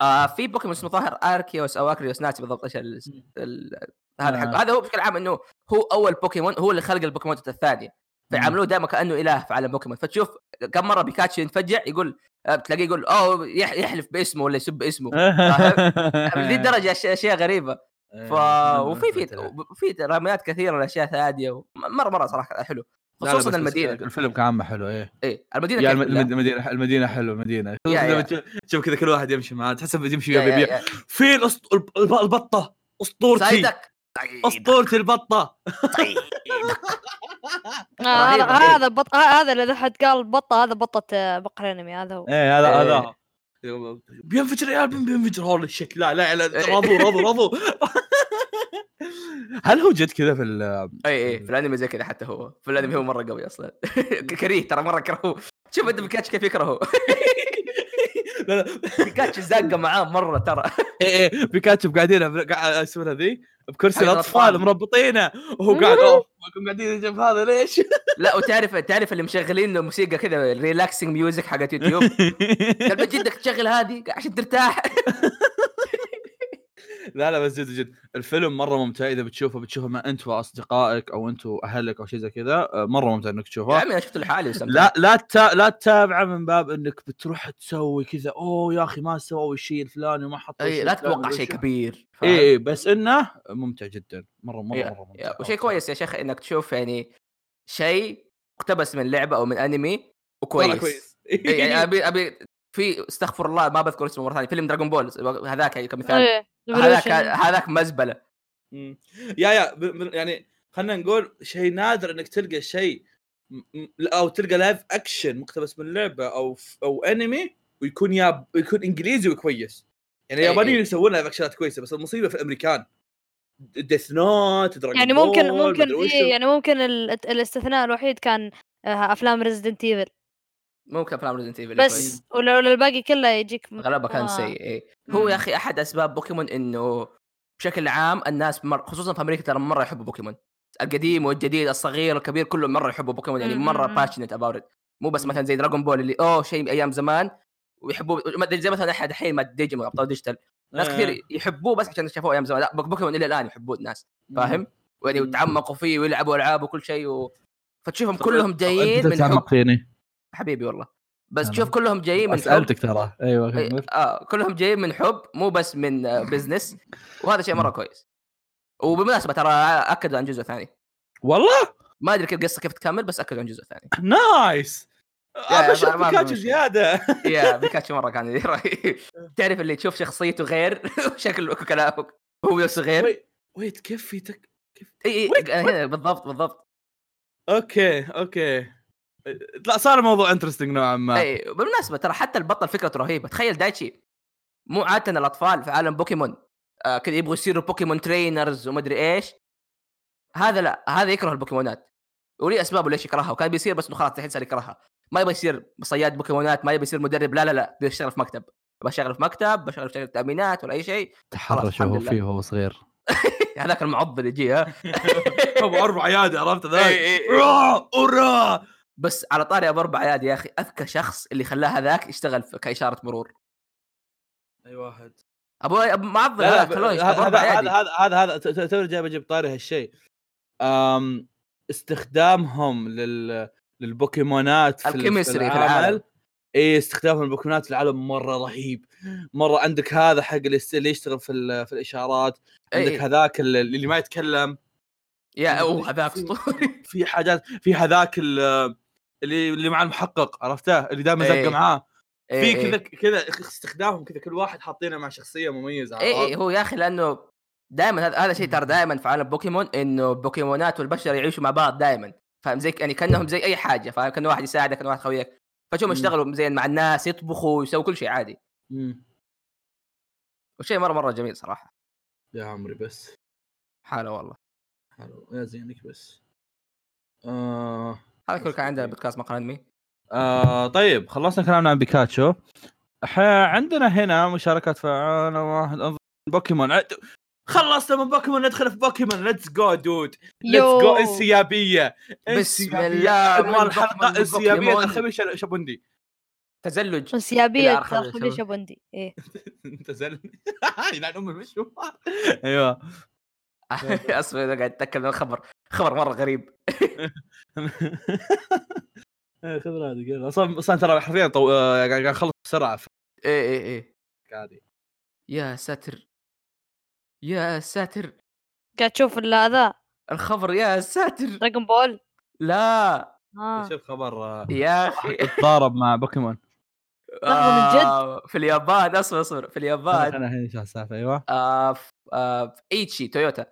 S2: آه في بوكيمون اسمه ظاهر اركيوس او اكريوس ناسي بالضبط ايش ال- ال- هذا
S1: آه.
S2: حقه هذا هو بشكل عام انه هو اول بوكيمون هو اللي خلق البوكيمون الثانيه فيعاملوه دائما كانه اله في عالم بوكيمون فتشوف كم مره بيكاتشو ينفجع يقول آه، بتلاقيه يقول اوه يح- يحلف باسمه ولا يسب اسمه لذي الدرجه أش- اشياء غريبه يعني
S1: إيه،
S2: ف وفي في في رميات كثيره لاشياء هاديه مره مره صراحه حلو
S1: لا، لا،
S2: خصوصا
S1: بس- بس
S2: المدينه
S1: الفيلم كعامه حلو ايه
S2: ايه المدينه
S1: يا الم-
S2: كيف لا.
S1: المد- المدينه المدينه حلوه مدينه
S2: يا- يا.
S1: لما تشوف- تشوف كذا كل واحد يمشي معاه تحس إنه يمشي
S2: يا-
S1: ويا
S2: يا-
S1: بيبيع
S2: يا.
S1: في الأسط- الب- الب- البطه اسطورتي
S2: صيدك صيدك.
S1: اسطورتي البطه
S3: آه، هذا
S2: رهيبة.
S3: هذا بط... آه، هذا اللي حد قال بطه هذا بطه آه، بقر انمي هذا هو
S1: ايه هذا
S2: إيه.
S1: هذا بينفجر يا عيال بينفجر هول الشيت لا لا لا
S2: إيه.
S1: راضوا راضوا راضوا هل هو جد كذا في ال
S2: اي اي في الانمي زي كذا حتى هو في الانمي هو مره قوي اصلا ك- كريه ترى مره كرهوه شوف انت بيكاتش كيف يكرهه
S1: لا لا
S2: بيكاتش زاقه معاه مره ترى
S1: ايه ايه بيكاتشو قاعدين قاعد اسمه ذي بكرسي
S2: حق
S1: الاطفال
S2: الأطفال.
S1: مربطينه وهو قاعد اوه قاعدين جنب هذا ليش؟
S2: لا وتعرف تعرف اللي مشغلين له موسيقى كذا ريلاكسنج ميوزك حقت يوتيوب قال بجدك تشغل هذه عشان ترتاح
S1: لا لا بس جد جد الفيلم مره ممتع اذا بتشوفه بتشوفه مع انت واصدقائك او انت واهلك او شيء زي كذا آه، مره ممتع انك
S2: يا
S1: تشوفه
S2: عمي انا شفته لحالي واستمتعت.
S1: لا لا تا... لا تتابعه من باب انك بتروح تسوي كذا اوه يا اخي ما سووا الشيء الفلاني وما حطوا
S2: اي
S1: الشيء
S2: لا
S1: الفلاني
S2: تتوقع
S1: ولا
S2: شيء
S1: شيء.
S2: كبير فاهم؟
S1: اي اي بس انه ممتع جدا مره مره
S2: إيه،
S1: مره ممتع
S2: يا- وشيء كويس يا شيخ انك تشوف يعني شيء اقتبس من لعبه او من انمي
S1: مرة
S2: وكويس
S1: كويس
S2: إيه، يعني ابي ابي في استغفر الله ما بذكر اسمه مره ثانيه فيلم دراجون بول هذاك يعني كمثال
S3: إيه،
S2: هذاك
S3: Revolution.
S2: هذاك مزبله
S1: مم. يا يا ب- ب- يعني خلينا نقول شيء نادر انك تلقى شيء م- م- او تلقى لايف اكشن مقتبس من لعبه او ف- او انمي ويكون يا يكون انجليزي وكويس يعني
S2: إي
S1: اليابانيين
S2: إي.
S1: يسوون لايف اكشنات كويسه بس المصيبه في الامريكان ديث نوت
S3: يعني ممكن ممكن إيه يعني ممكن ال- الاستثناء الوحيد كان آه، افلام ريزدنت ايفل
S2: ممكن افلام ريزنت ايفل
S3: بس ولو لو الباقي كله يجيك م-
S2: اغلبها كان
S3: آه.
S2: سيء إيه. هو يا
S1: مم.
S2: اخي احد اسباب بوكيمون انه بشكل عام الناس مر... خصوصا في امريكا ترى مره يحبوا بوكيمون القديم والجديد الصغير الكبير كله مره يحبوا بوكيمون يعني
S3: مم،
S2: مره
S3: مم، مم.
S2: باشنت اباوت مو بس
S1: مم.
S2: مثلا زي دراغون بول اللي اوه شيء من ايام زمان ويحبوه ما أدري زي مثلا احد الحين مع ديجيمون ابطال ديجيتال
S1: آه.
S2: ناس كثير يحبوه بس عشان شافوه ايام زمان لا بوك- بوكيمون الى الان يحبوه الناس فاهم؟ يعني
S1: مم.
S2: وتعمقوا فيه ويلعبوا العاب وكل شيء و... فتشوفهم كلهم جايين من حب
S1: تعمق أه، فيني
S2: حبيبي والله بس
S1: أنا-
S2: تشوف كلهم جايين إيه، من حب
S1: سالتك ترى ايوه
S2: إي-
S1: كمل.
S2: اه كلهم جايين من حب مو بس من آه، بزنس وهذا شيء مره كويس وبالمناسبه ترى اكدوا عن جزء ثاني
S1: والله
S2: ما ادري كيف القصه كيف تكمل بس اكدوا عن جزء ثاني
S1: نايس
S2: يا،
S1: ابى اشوف
S2: ما- ما في
S1: بيكاتشو
S2: مشكلة.
S1: زياده
S2: يا بيكاتشو مره كان رهيب تعرف اللي تشوف شخصيته غير وشكله وكلامه هو نفسه غير
S1: وي- ويت كيف في تك
S2: اي
S1: ويت-
S2: اي أنا هنا بالضبط بالضبط
S1: اوكي اوكي لا صار الموضوع انترستنج نوعا ما
S2: اي بالمناسبه إيه، ترى حتى البطل فكرته رهيبه تخيل دايتشي مو عاده الاطفال في عالم بوكيمون آه كذا يبغوا يصيروا بوكيمون ترينرز ومدري ايش هذا لا هذا يكره البوكيمونات وليه اسبابه ليش يكرهها وكان بيصير بس إنه خلاص الحين صار يكرهها ما يبغى يصير صياد بوكيمونات ما يبغى يصير مدرب لا لا لا بيشتغل في مكتب بشتغل في مكتب بشتغل في شركه تامينات ولا اي شيء خلاص،
S4: تحرش
S2: الحمد
S4: وهو
S2: لله.
S4: فيه وهو صغير
S2: هذاك المعض اللي يجي ها
S1: ابو اربع عيادي عرفت
S2: إيه،
S1: ذاك
S2: إي، إي، إي.
S1: را ورا
S2: بس على طاري ابو اربع عياد يا اخي اذكى شخص اللي خلاه هذاك يشتغل في- كاشاره مرور
S1: اي واحد
S2: ابو ابو معضل
S1: لا
S2: هذاك
S1: ب-
S2: خلوه
S1: هذا
S2: يشتغل أبو
S1: هذا
S2: أربع عيادي.
S1: هذا- هذا هذا هذا تو- تو جاي بجيب طاري هالشيء أم، استخدامهم لل للبوكيمونات في ال- في
S2: الكيمستري في العالم.
S1: العمل. اي استخدامهم للبوكيمونات في العالم مره رهيب مره عندك هذا حق اللي يست- اللي يشتغل في ال- في الاشارات
S2: إي،
S1: عندك
S2: إي.
S1: هذاك اللي اللي ما يتكلم
S2: يا
S1: عندك
S2: اوه هذاك
S1: في-
S2: اسطوري
S1: في حاجات في هذاك ال- اللي اللي مع المحقق عرفته اللي دائما
S2: إيه.
S1: زق معاه في
S2: إيه،
S1: كذا
S2: إيه.
S1: كذا استخدامهم كذا كل واحد حاطينه مع شخصيه مميزه
S2: اي
S1: عرفت؟
S2: اي إيه، هو يا اخي لانه دائما هذا هذا شيء ترى دائما في عالم بوكيمون انه البوكيمونات والبشر يعيشوا مع بعض دائما فاهم زي يعني كانهم زي اي حاجه فاهم كان واحد يساعدك كان واحد خويك فشوف
S1: مم.
S2: يشتغلوا زي مع الناس يطبخوا يسووا كل شيء عادي
S1: مم.
S2: وشيء مره مره جميل صراحه
S1: يا عمري بس
S2: حاله والله
S1: حلو يا زينك بس آه.
S2: هذا كله كان عندنا بودكاست مقال انمي
S1: آه طيب خلصنا كلامنا عن بيكاتشو ح- عندنا هنا مشاركات فعالة واحد انظر بوكيمون عد- خلصنا من بوكيمون ندخل في بوكيمون ليتس جو دود ليتس جو انسيابيه
S2: بسم
S1: انسيابية.
S2: الله، من
S1: عنوان الحلقه
S2: بوكيمون
S1: انسيابيه
S2: لبوكيمون.
S1: الخميس شابوندي
S2: تزلج
S3: انسيابيه
S2: إلى آخر
S3: تدخل
S2: الشباب.
S3: شبندي ايه
S1: انت زلمه يلعن ام المشوار ايوه
S2: اصبر أنا قاعد اتاكد من الخبر خبر مره غريب
S1: إيه، خذ راحتك يلا. اصلا اصلا ترى حرفيا طو... آه، قاعد قاعد اخلص بسرعه في
S2: اي اي اي
S1: عادي
S2: إيه، يا ساتر يا ساتر
S3: قاعد تشوف ال- هذا
S2: الخبر يا ساتر
S3: دراجون بول
S2: لا
S3: اه
S1: شوف خبر آه،
S2: يا اخي
S1: تضارب مع بوكيمون
S3: لحظة، من جد؟
S2: آه، في اليابان اصبر اصبر في
S1: خلنا-
S2: اليابان
S1: خلنا الحين نشوف السالفه ايوه
S2: آه، في- آه، في ايتشي تويوتا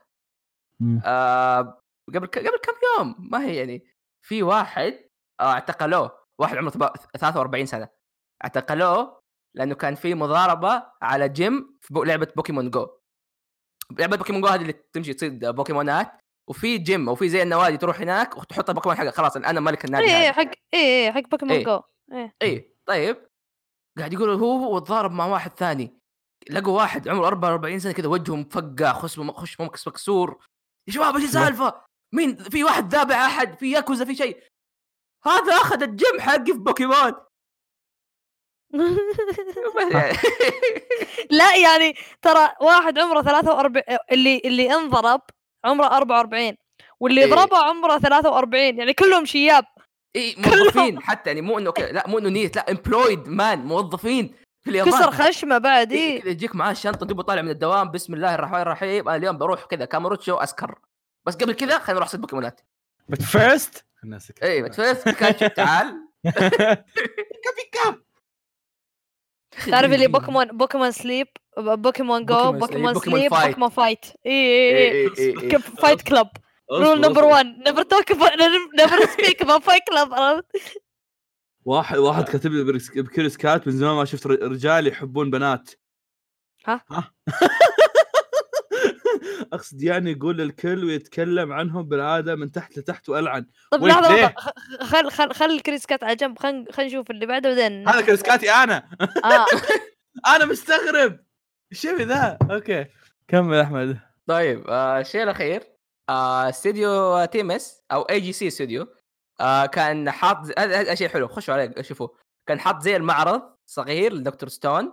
S1: مم.
S2: آه، قبل ك- قبل كم يوم ما هي يعني في واحد آه، اعتقلوه واحد عمره تبا- 43 سنه اعتقلوه لانه كان في مضاربه على جيم في بو- لعبه بوكيمون جو لعبه بوكيمون جو هذه اللي تمشي تصيد بوكيمونات وفي جيم او في زي النوادي تروح هناك وتحط البوكيمون حقك خلاص انا ملك النادي
S3: ايه
S2: هذا.
S3: ايه حق ايه ايه حق بوكيمون
S2: إيه.
S3: جو إيه.
S2: اي طيب قاعد يقول هو وتضارب مع واحد ثاني لقوا واحد عمره 44 سنه كذا وجهه مفقع خصمه خشمه مكس مكسور يا شباب ايش السالفه؟ مين في واحد ذابح احد في ياكوزا في شيء هذا اخذ الجيم حقي في بوكيمون يعني
S3: لا يعني ترى واحد عمره 43 اللي اللي انضرب عمره 44 واللي
S2: إيه.
S3: ضربه عمره 43 يعني كلهم شياب
S2: اي
S3: كلهم.
S2: إيه، موظفين حتى يعني مو انه كذا لا مو انه نيت لا امبلويد مان موظفين في اليابان
S3: كسر خشمه بعد
S2: إيه،
S3: إيه.
S2: كذا يجيك معاه شنطه دوبه طالع من الدوام بسم الله الرحمن الرحيم انا اليوم بروح كذا كاماروتشو اسكر بس قبل كذا خلينا نروح صيد بوكيمونات
S4: بس فيرست الناس
S2: اي
S1: آه.
S2: بس فيرست بيكاتشو إيه، تعال
S3: تعرف
S2: إيه،
S3: اللي بوكيمون بوكيمون سليب بوكيمون جو
S2: بوكيمون سليب،
S3: بوكيمون
S2: بوكيمون
S3: سليب
S2: فايت.
S3: بوكيمون فايت اي اي اي
S2: إيه، إيه، إيه.
S3: كيف فايت كلب رول نمبر 1 نيفر توك نيفر سبيك اباوت فايت كلب عرفت
S1: واحد واحد كاتب لي بريس- بكريس كات من زمان ما شفت ر- رجال يحبون بنات
S3: ها؟
S1: ها اقصد يعني يقول الكل ويتكلم عنهم بالعاده من تحت لتحت والعن
S3: طيب
S1: ويت
S3: لحظه
S1: ليه؟
S3: لحظه خ- خل خل خل الكريس كات على جنب خل خل نشوف اللي بعده بعدين
S1: هذا كريس كاتي انا
S3: اه
S1: انا مستغرب الشيء ذا اوكي كمل احمد
S2: طيب آه، الشيء الاخير آه، استوديو آه، تيمس او اي جي سي استوديو آه، كان حاط ز- هذا هذا شيء حلو خشوا عليه شوفوه كان حاط زي المعرض صغير لدكتور ستون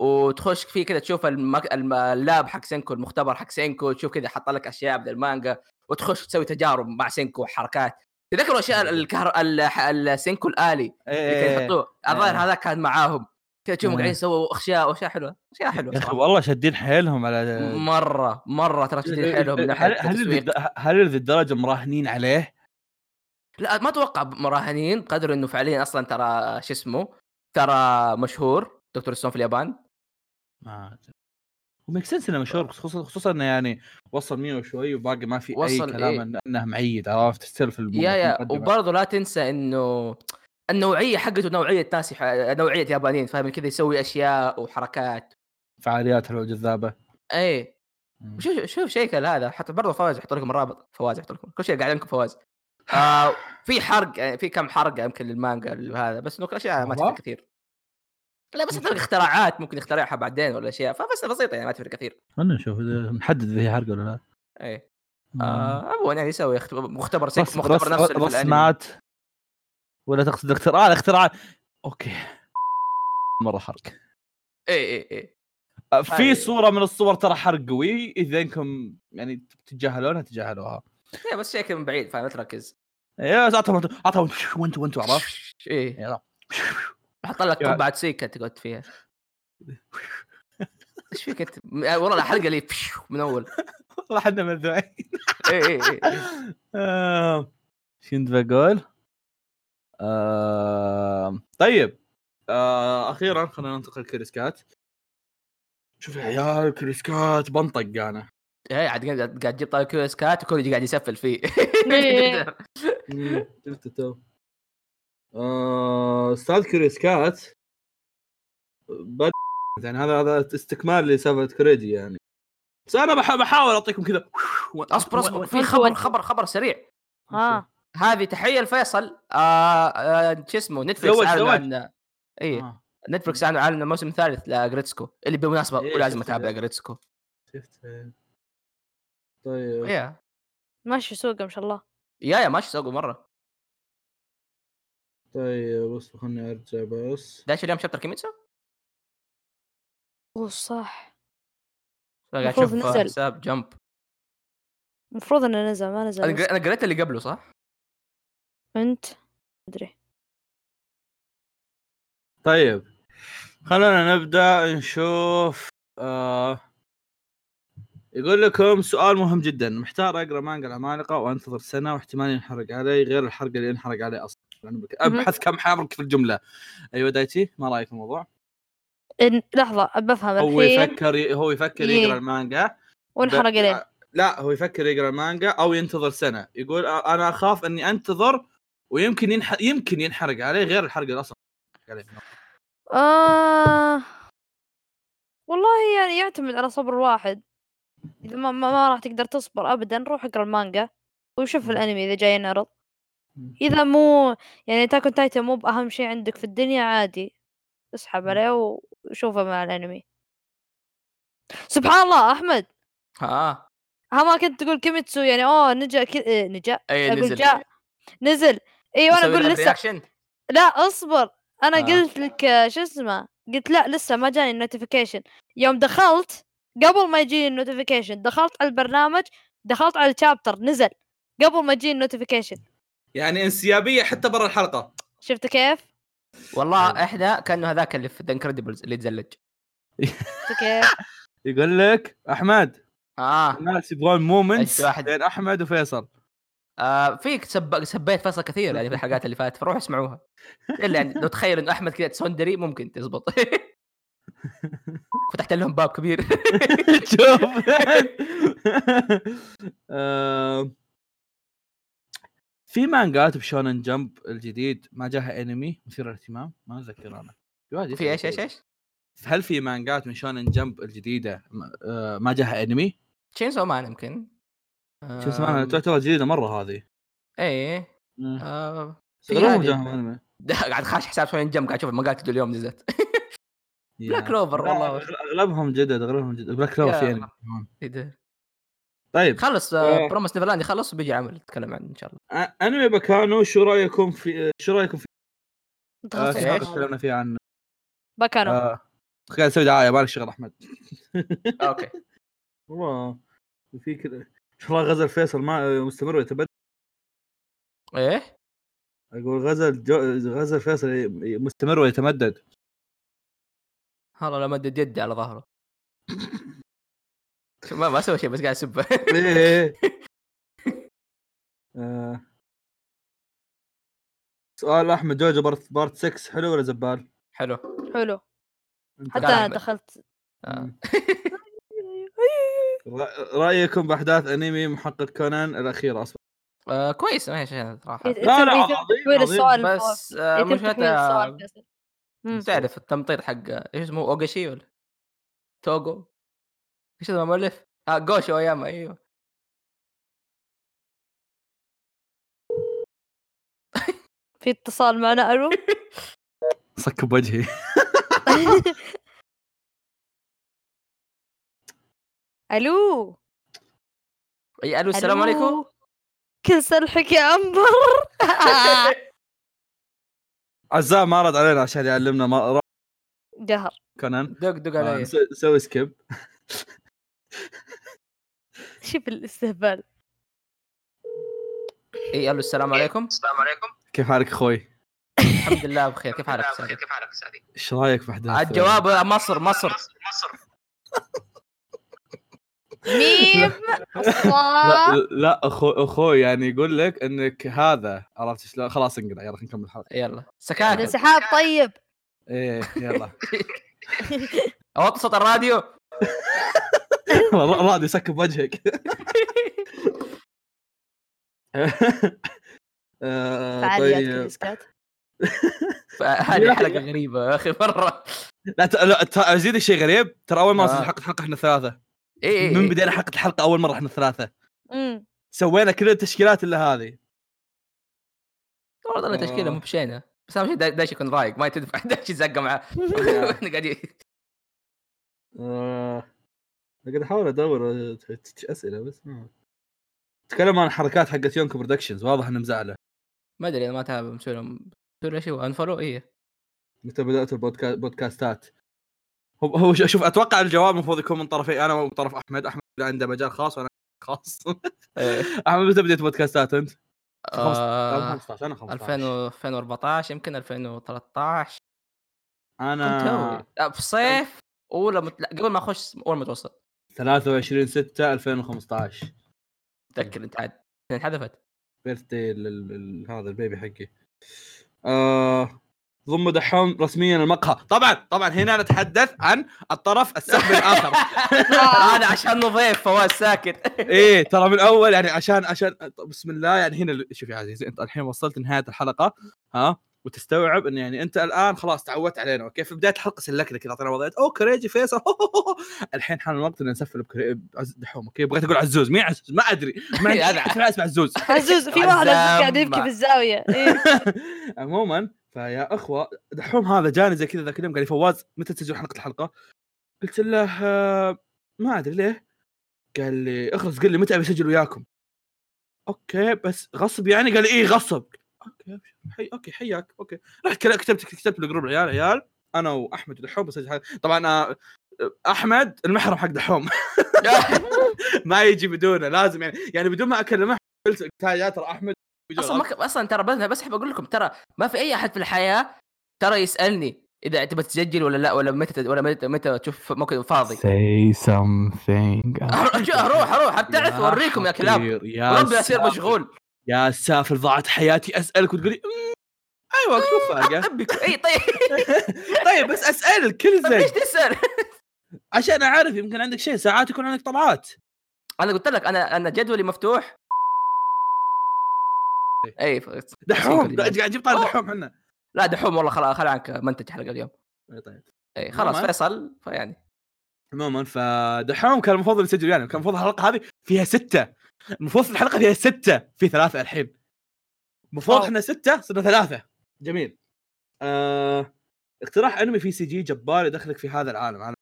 S2: وتخش فيه كذا تشوف المك... الم- اللاب حق سينكو المختبر حق سينكو تشوف كذا حط لك اشياء من المانجا وتخش تسوي تجارب مع سينكو وحركات تذكروا اشياء الكهر... ال- السينكو الالي اللي كانوا يحطوه الظاهر
S4: إيه.
S2: هذا كان معاهم كذا تشوفهم
S4: إيه.
S2: قاعدين يسووا اشياء واشياء حلوه اشياء حلوه
S4: يا
S2: صراحة.
S4: اخي والله شادين حيلهم على
S1: إيه.
S2: مره مره ترى شديد حيلهم من ناحيه
S1: هل هل
S2: التسويق
S1: للد- هل للدرجه مراهنين عليه؟
S2: لا ما اتوقع مراهنين قدر انه فعليا اصلا ترى شو اسمه ترى مشهور دكتور ستون في اليابان
S1: ما وميك سنس انه مشهور خصوصا خصوصا انه يعني وصل 100 وشوي وباقي ما في
S2: وصل
S1: اي كلام
S2: إيه.
S1: إن- انه معيد عرفت ستيل في الم-
S2: يا يا
S1: المقدمة.
S2: وبرضه لا تنسى انه النوعيه حقته نوعيه ناس يح- نوعيه يابانيين فاهم كذا يسوي اشياء وحركات إيه.
S1: فعاليات حلوه جذابه
S2: اي
S1: مم.
S2: شوف شوف شيكل هذا حتى برضه فواز يحط لكم الرابط فواز يحط لكم كل شيء قاعد لكم فواز آه في حرق يعني في كم حرقه يمكن للمانجا هذا بس انه اشياء ما
S1: والله؟
S2: تفرق كثير لا بس تلقى اختراعات ممكن يخترعها بعدين ولا اشياء فبس بسيطه يعني ما تفرق كثير
S1: خلنا نشوف اذا نحدد اذا هي حرق ولا لا
S2: اي
S1: مم.
S2: آه، عموما يعني يسوي اخت- مختبر سيك
S1: رس-
S2: مختبر
S1: رس-
S2: نفسه اللي في الانمي
S1: رسمات ولا تقصد اختراع الاختراع اوكي مره حرق
S2: اي اي اي
S1: آه، في
S2: هذه-
S1: صوره من الصور ترى حرق قوي اذا انكم يعني تتجاهلونها تجاهلوها
S2: إيه، بس شيء من بعيد فاهم لا تركز
S1: يا اعطوا اعطوا وانتوا وانتوا عرفت
S2: اي
S1: يلا
S2: إيه. حط لك
S1: يا-
S2: قبعه سيكا تقعد فيها ايش فيك انت؟ م- آه، والله الحلقه اللي بشو من اول
S1: والله احنا مذوعين إيه،
S2: اي اي اي
S1: آم، شنت بقول؟ آم، طيب آه، اخيرا خلينا ننتقل لكريسكات شوف يا عيال كريسكات بنطق انا
S2: إيه، عاد قاعد قاعد تجيب طارق كيوس كات وكوريجي قاعد يسفل فيه
S3: إيه.
S1: مم، شفت تو آه، استاذ كريسكات بد يعني هذا هذا استكمال لسالفه كريجي يعني بس انا بح- بحاول اعطيكم كذا
S2: اصبر اصبر في
S3: وأنت-
S2: خبر
S3: وأنت-
S2: خبر خبر سريع
S3: اه
S2: هذه تحيه فيصل آه آه شو اسمه نتفلكس
S1: تزوج-
S2: اعلنوا
S1: تزوج.
S2: عن اي
S1: آه،
S2: نتفلكس اعلنوا عن الموسم الثالث لجريتسكو اللي بالمناسبه
S1: إيه،
S2: ولازم
S1: شفت
S2: اتابع
S1: ذا.
S2: جريتسكو
S1: شفت طيب
S2: يا
S3: ماشي سوقه ما شاء الله
S2: إيه. يا يا ماشي سوقه مره
S1: طيب اصبر خلني ارجع بس
S2: داش اليوم شابتر كيميتسو
S3: اوه صح
S2: قاعد
S3: المفروض
S2: اشوف
S3: نزل.
S2: حساب جمب
S3: المفروض انه نزل ما نزل
S2: انا
S3: لسه.
S2: قر- أنا قريت اللي قبله صح؟
S3: انت مدري
S1: طيب خلونا نبدا نشوف آه يقول لكم سؤال مهم جدا محتار اقرا مانجا العمالقه وانتظر سنه واحتمال ينحرق علي غير الحرق اللي ينحرق علي اصلا يعني بك-
S3: مهم.
S1: ابحث كم حرق في الجمله ايوه دايتي ما رايك في الموضوع؟
S3: إن... لحظه بفهم
S1: هو
S3: الحين
S1: يفكر ي... هو يفكر
S3: إيه.
S1: يقرا المانجا
S3: وانحرق
S1: ب-
S3: لين
S1: لا هو يفكر يقرا المانجا او ينتظر سنه يقول أ- انا اخاف اني انتظر ويمكن ينح... يمكن ينحرق علي غير الحرق اللي يعني اصلا عليه
S3: آه... والله يعني يعتمد على صبر الواحد اذا ما, ما, ما راح تقدر تصبر ابدا روح اقرا المانجا وشوف الانمي اذا جاي ينعرض
S1: مم.
S3: اذا مو يعني تاكون تايتن مو باهم شيء عندك في الدنيا عادي اسحب عليه وشوفه مع الانمي سبحان الله احمد
S2: ها
S3: ها ما كنت تقول كيميتسو يعني اوه نجا كي... إيه، نجا
S2: اي
S3: اقول
S2: نزل
S3: جاء نزل ايوه انا
S2: نسوي
S3: اقول
S2: لها
S3: لسه
S2: reaction؟
S3: لا اصبر انا
S5: آه.
S3: قلت لك آه، شو اسمه قلت لا لسه ما جاني النوتيفيكيشن يوم دخلت قبل ما يجيني النوتيفيكيشن دخلت على البرنامج دخلت على الشابتر نزل قبل ما يجيني النوتيفيكيشن
S5: يعني انسيابيه حتى برا الحلقه
S3: شفت كيف؟
S1: إيه.
S2: والله احنا كانه هذاك اللي في ذا انكريدبلز اللي تزلج
S3: شفت كيف؟
S1: يقول لك احمد
S2: اه,
S1: الناس يبغون مومنتس
S2: أي واحد.
S1: بين احمد وفيصل
S2: آه فيك سب... سبيت فيصل كثير يعني في الحلقات اللي فاتت فروح اسمعوها الا يعني لو تخيل انه احمد كذا سوندري ممكن تزبط فتحت لهم باب كبير
S1: شوف آه، في مانجات بشونن جمب الجديد ما جاها انمي مثير للاهتمام ما اتذكر انا جواد يسأل
S2: في ايش ايش ايش؟
S1: هل في مانجات من شونن جمب الجديده ما- آه، ما جاها انمي؟
S2: تشين سو مان يمكن
S1: شو اسمها
S2: آم،
S1: تعتبر جديده مره هذه
S2: ايه
S1: مم.
S2: آه، في
S1: شغلهم
S2: هذه-
S1: جاهم انمي
S2: ده قاعد خاش حساب شوي جنب قاعد اشوف المقالات دول اليوم نزلت
S1: يا.
S2: Black Clover،
S1: لا،
S2: والله.
S1: أغل- اغلبهم جدد اغلبهم جدد بلاك كلوفر
S2: يا.
S1: في انمي كمان.
S2: إيه ده.
S1: طيب
S2: خلص
S1: إيه.
S2: آه، برومس نيفرلاند يخلص وبيجي عمل نتكلم عنه ان شاء الله
S1: أ- انمي بكانو شو رايكم في شو رايكم في آه،
S3: دخلت
S1: في
S2: إيش؟
S1: حلقة
S3: على الموضوع.
S1: تكلمنا فيها عن
S3: بكانو
S1: آه، خلينا نسوي دعايه مالك شغل احمد
S2: اوكي
S1: والله في كذا ان شاء الله غزل فيصل ما مستمر ويتبدل
S2: ايه
S1: اقول غزل جو... غزل فيصل ي- مستمر ويتمدد
S2: والله لو مدد يدي على ظهره شو- ما ما سوى شيء بس قاعد اسبه
S1: إيه، إيه. آه. سؤال احمد جوجو بارت بارت 6 حلو ولا زبال؟
S2: حلو
S3: حلو
S1: أنت
S3: حتى
S2: قال
S3: أنا
S2: أحمد.
S3: دخلت
S2: آه.
S1: رأ- رايكم باحداث انمي محقق كونان الاخيره اصلا
S2: آه، كويس ما هي شيء صراحه
S3: يت-
S1: لا، لا،
S3: يتم- يتم
S1: عظيم،
S3: تحويل
S1: عظيم،
S3: السؤال إيه، لفوق.
S2: بس آه،
S3: يتم تحويل السؤال
S2: مشكلتها
S3: فيصل. مم.
S2: تعرف التمطيط حق ايش اسمه اوغاشي ولا توغو ايش اسمه المؤلف؟ اه جوشو اياما ايوه
S3: في اتصال معنا الو
S1: صك بوجهي
S3: الو
S2: اي الو السلام عليكم
S3: ألو. كل سلحك يا عنبر
S1: عزام ما رد علينا عشان يعلمنا ما رأي
S3: جهر
S1: كونان
S2: دق دق
S1: آه،
S2: علي
S1: نس- نسوي سكيب
S3: شوف الاستهبال
S2: اي الو السلام عليكم
S6: السلام عليكم
S1: كيف حالك اخوي؟
S2: الحمد لله بخير كيف حالك
S6: أستاذ؟
S2: استاذ
S6: كيف حالك سعدي؟
S1: ايش رايك باحداث
S2: الجواب آه، مصر مصر
S6: مصر
S3: ميم
S1: لا,
S3: صاد
S1: لا اخو اخوي يعني يقول لك انك هذا عرفت شلون خلاص انقلع يلا خلينا نكمل الحلقه
S2: يلا سكاكة
S3: الانسحاب طيب
S2: إيه،
S1: ايه يلا
S2: اوطي صوت الراديو
S1: والله راضي يسكب وجهك آه،
S3: فعاليات
S1: طيب
S3: كلاسكات
S2: هذه حلقة غريبة يا اخي مرة
S1: لا ت- لا ت- ازيدك شيء غريب ترى اول ما
S2: آه. إيه،
S1: وصلت حلقه الحلقه احنا ثلاثه
S2: اي اي
S1: من بدينا حلقه الحلقه اول مره احنا ثلاثه
S3: أمم.
S1: سوينا كل التشكيلات الا هذه
S2: والله التشكيلة مو بشينة بس اهم شيء دا- دايش يكون رايق ما تدفع دايش يتزقى معاه احنا قاعدين
S1: آه، قاعد احاول ادور آه، ت- ت- اسئله بس ما- تكلم عن حركات حقت يونكو برودكشنز واضح انه مزعله
S2: ما ادري انا ما تابع مسوي لهم مسوي له شيء انفولو اي
S1: متى بدات البودكا... بودكاستات هو هو شوف اتوقع الجواب المفروض يكون من طرفي انا ومن طرف احمد احمد عنده مجال خاص وانا خاص احمد متى بديت بودكاستات انت؟ خمس-
S2: آه،
S1: أنا 15 انا 15
S2: 2014 يمكن 2013
S1: انا
S2: كنت توي. في الصيف اولى مت... لا، قبل ما اخش اول
S1: طيب.
S2: متوسط
S1: 23 6 2015
S2: تذكر انت عاد انحذفت
S1: بيرثدي هذا البيبي حقي آه ضم دحوم رسميا المقهى طبعا طبعا هنا نتحدث عن الطرف السحب الاخر
S2: انا آه، عشان ضيف فواز ساكت
S1: ايه ترى من اول يعني عشان عشان طب بسم الله يعني هنا ال- شوف يا عزيزي انت الحين وصلت نهايه الحلقه ها وتستوعب ان يعني انت الان خلاص تعودت علينا اوكي في بدايه الحلقه سلكنا كذا اعطينا وضعيه اوه كريجي فيصل الحين حان الوقت ان نسفل بكري... بعز دحوم اوكي بغيت اقول عزوز مين عزوز ما ادري ما عندي
S2: هذا.
S1: أسماء اسمه عزوز
S3: عزوز في واحد
S2: عزام.
S3: قاعد يبكي في الزاويه إيه.
S1: عموما فيا اخوه دحوم هذا جاني زي كذا ذاك اليوم قال لي فواز متى تسجل حلقه الحلقه؟ قلت له آه، ما ادري ليه قال لي اخلص قل لي متى بسجل وياكم؟ اوكي بس غصب يعني؟ قال لي ايه غصب اوكي أبشر. حي اوكي حياك اوكي رحت كلا- كتبت كتبت لجروب العيال عيال انا واحمد ودحوم بسجل حاجة. طبعا آه، احمد المحرم حق دحوم ما يجي بدونه لازم يعني يعني بدون ما اكلمه قلت قلت يا ترى احمد بيجي
S2: اصلا ما
S1: غلط.
S2: ك... اصلا ترى بس بس احب اقول لكم ترى ما في اي احد في الحياه ترى يسالني اذا تبى تسجل ولا لا ولا متى ولا متى, متى تشوف موقع فاضي
S6: say something
S2: أروح- اروح اروح ابتعث
S1: يا
S2: واوريكم يا كلاب
S1: حقير، يا
S2: ربي اصير
S1: ساتر.
S2: مشغول
S1: يا سافل ضاعت حياتي اسالك وتقولي "أمم، ايوه شوف
S2: أمم،
S1: فارقه
S2: ابك اي طيب
S1: طيب بس اسالك كل
S2: طب ليش
S1: زين
S2: تسال؟
S1: عشان اعرف يمكن عندك شيء ساعات يكون عندك طلعات
S2: انا قلت لك انا انا جدولي مفتوح اي ف-
S1: دحوم
S2: سيكل
S1: قاعد
S2: اليوم.
S1: قاعد نجيب طاري دحوم احنا
S2: لا دحوم والله خلاص خل عنك منتج حلقه اليوم
S1: طيب
S2: اي خلاص
S1: عموماً.
S2: فيصل فيعني
S1: عموما فدحوم كان المفروض يسجل يعني كان المفروض الحلقه هذه فيها سته المفروض الحلقه فيها سته في ثلاثه الحين المفروض
S2: أوه.
S1: احنا سته صرنا ثلاثه جميل آه... اقتراح انمي في سي جي جبار يدخلك في هذا العالم عالم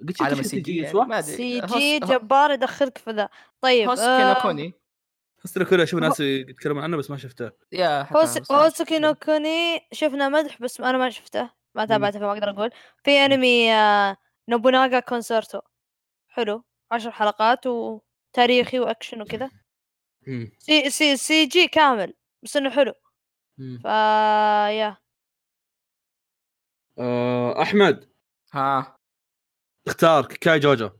S1: قلت شفت
S2: عالم
S1: شيء
S2: السي
S1: سي
S2: جي
S1: جي
S2: يعني
S1: يسوى
S2: ما ادري
S3: سي
S2: هوس-
S3: جي
S2: هو-
S3: جبار يدخلك في ذا طيب
S2: هوس
S3: آه،
S2: كينوكوني
S1: حسنا كله اشوف ناس يتكلمون عنه بس ما شفته
S2: يا
S3: هوس هوسوكي نو كوني شفنا مدح بس انا ما شفته ما تابعته فما اقدر اقول في انمي آه، نوبوناغا كونسرتو حلو عشر حلقات وتاريخي واكشن وكذا
S1: مم.
S3: سي سي سي جي كامل بس انه حلو
S1: مم.
S3: فا يا
S1: آه... احمد
S2: ها
S1: اختار كيكاي جوجو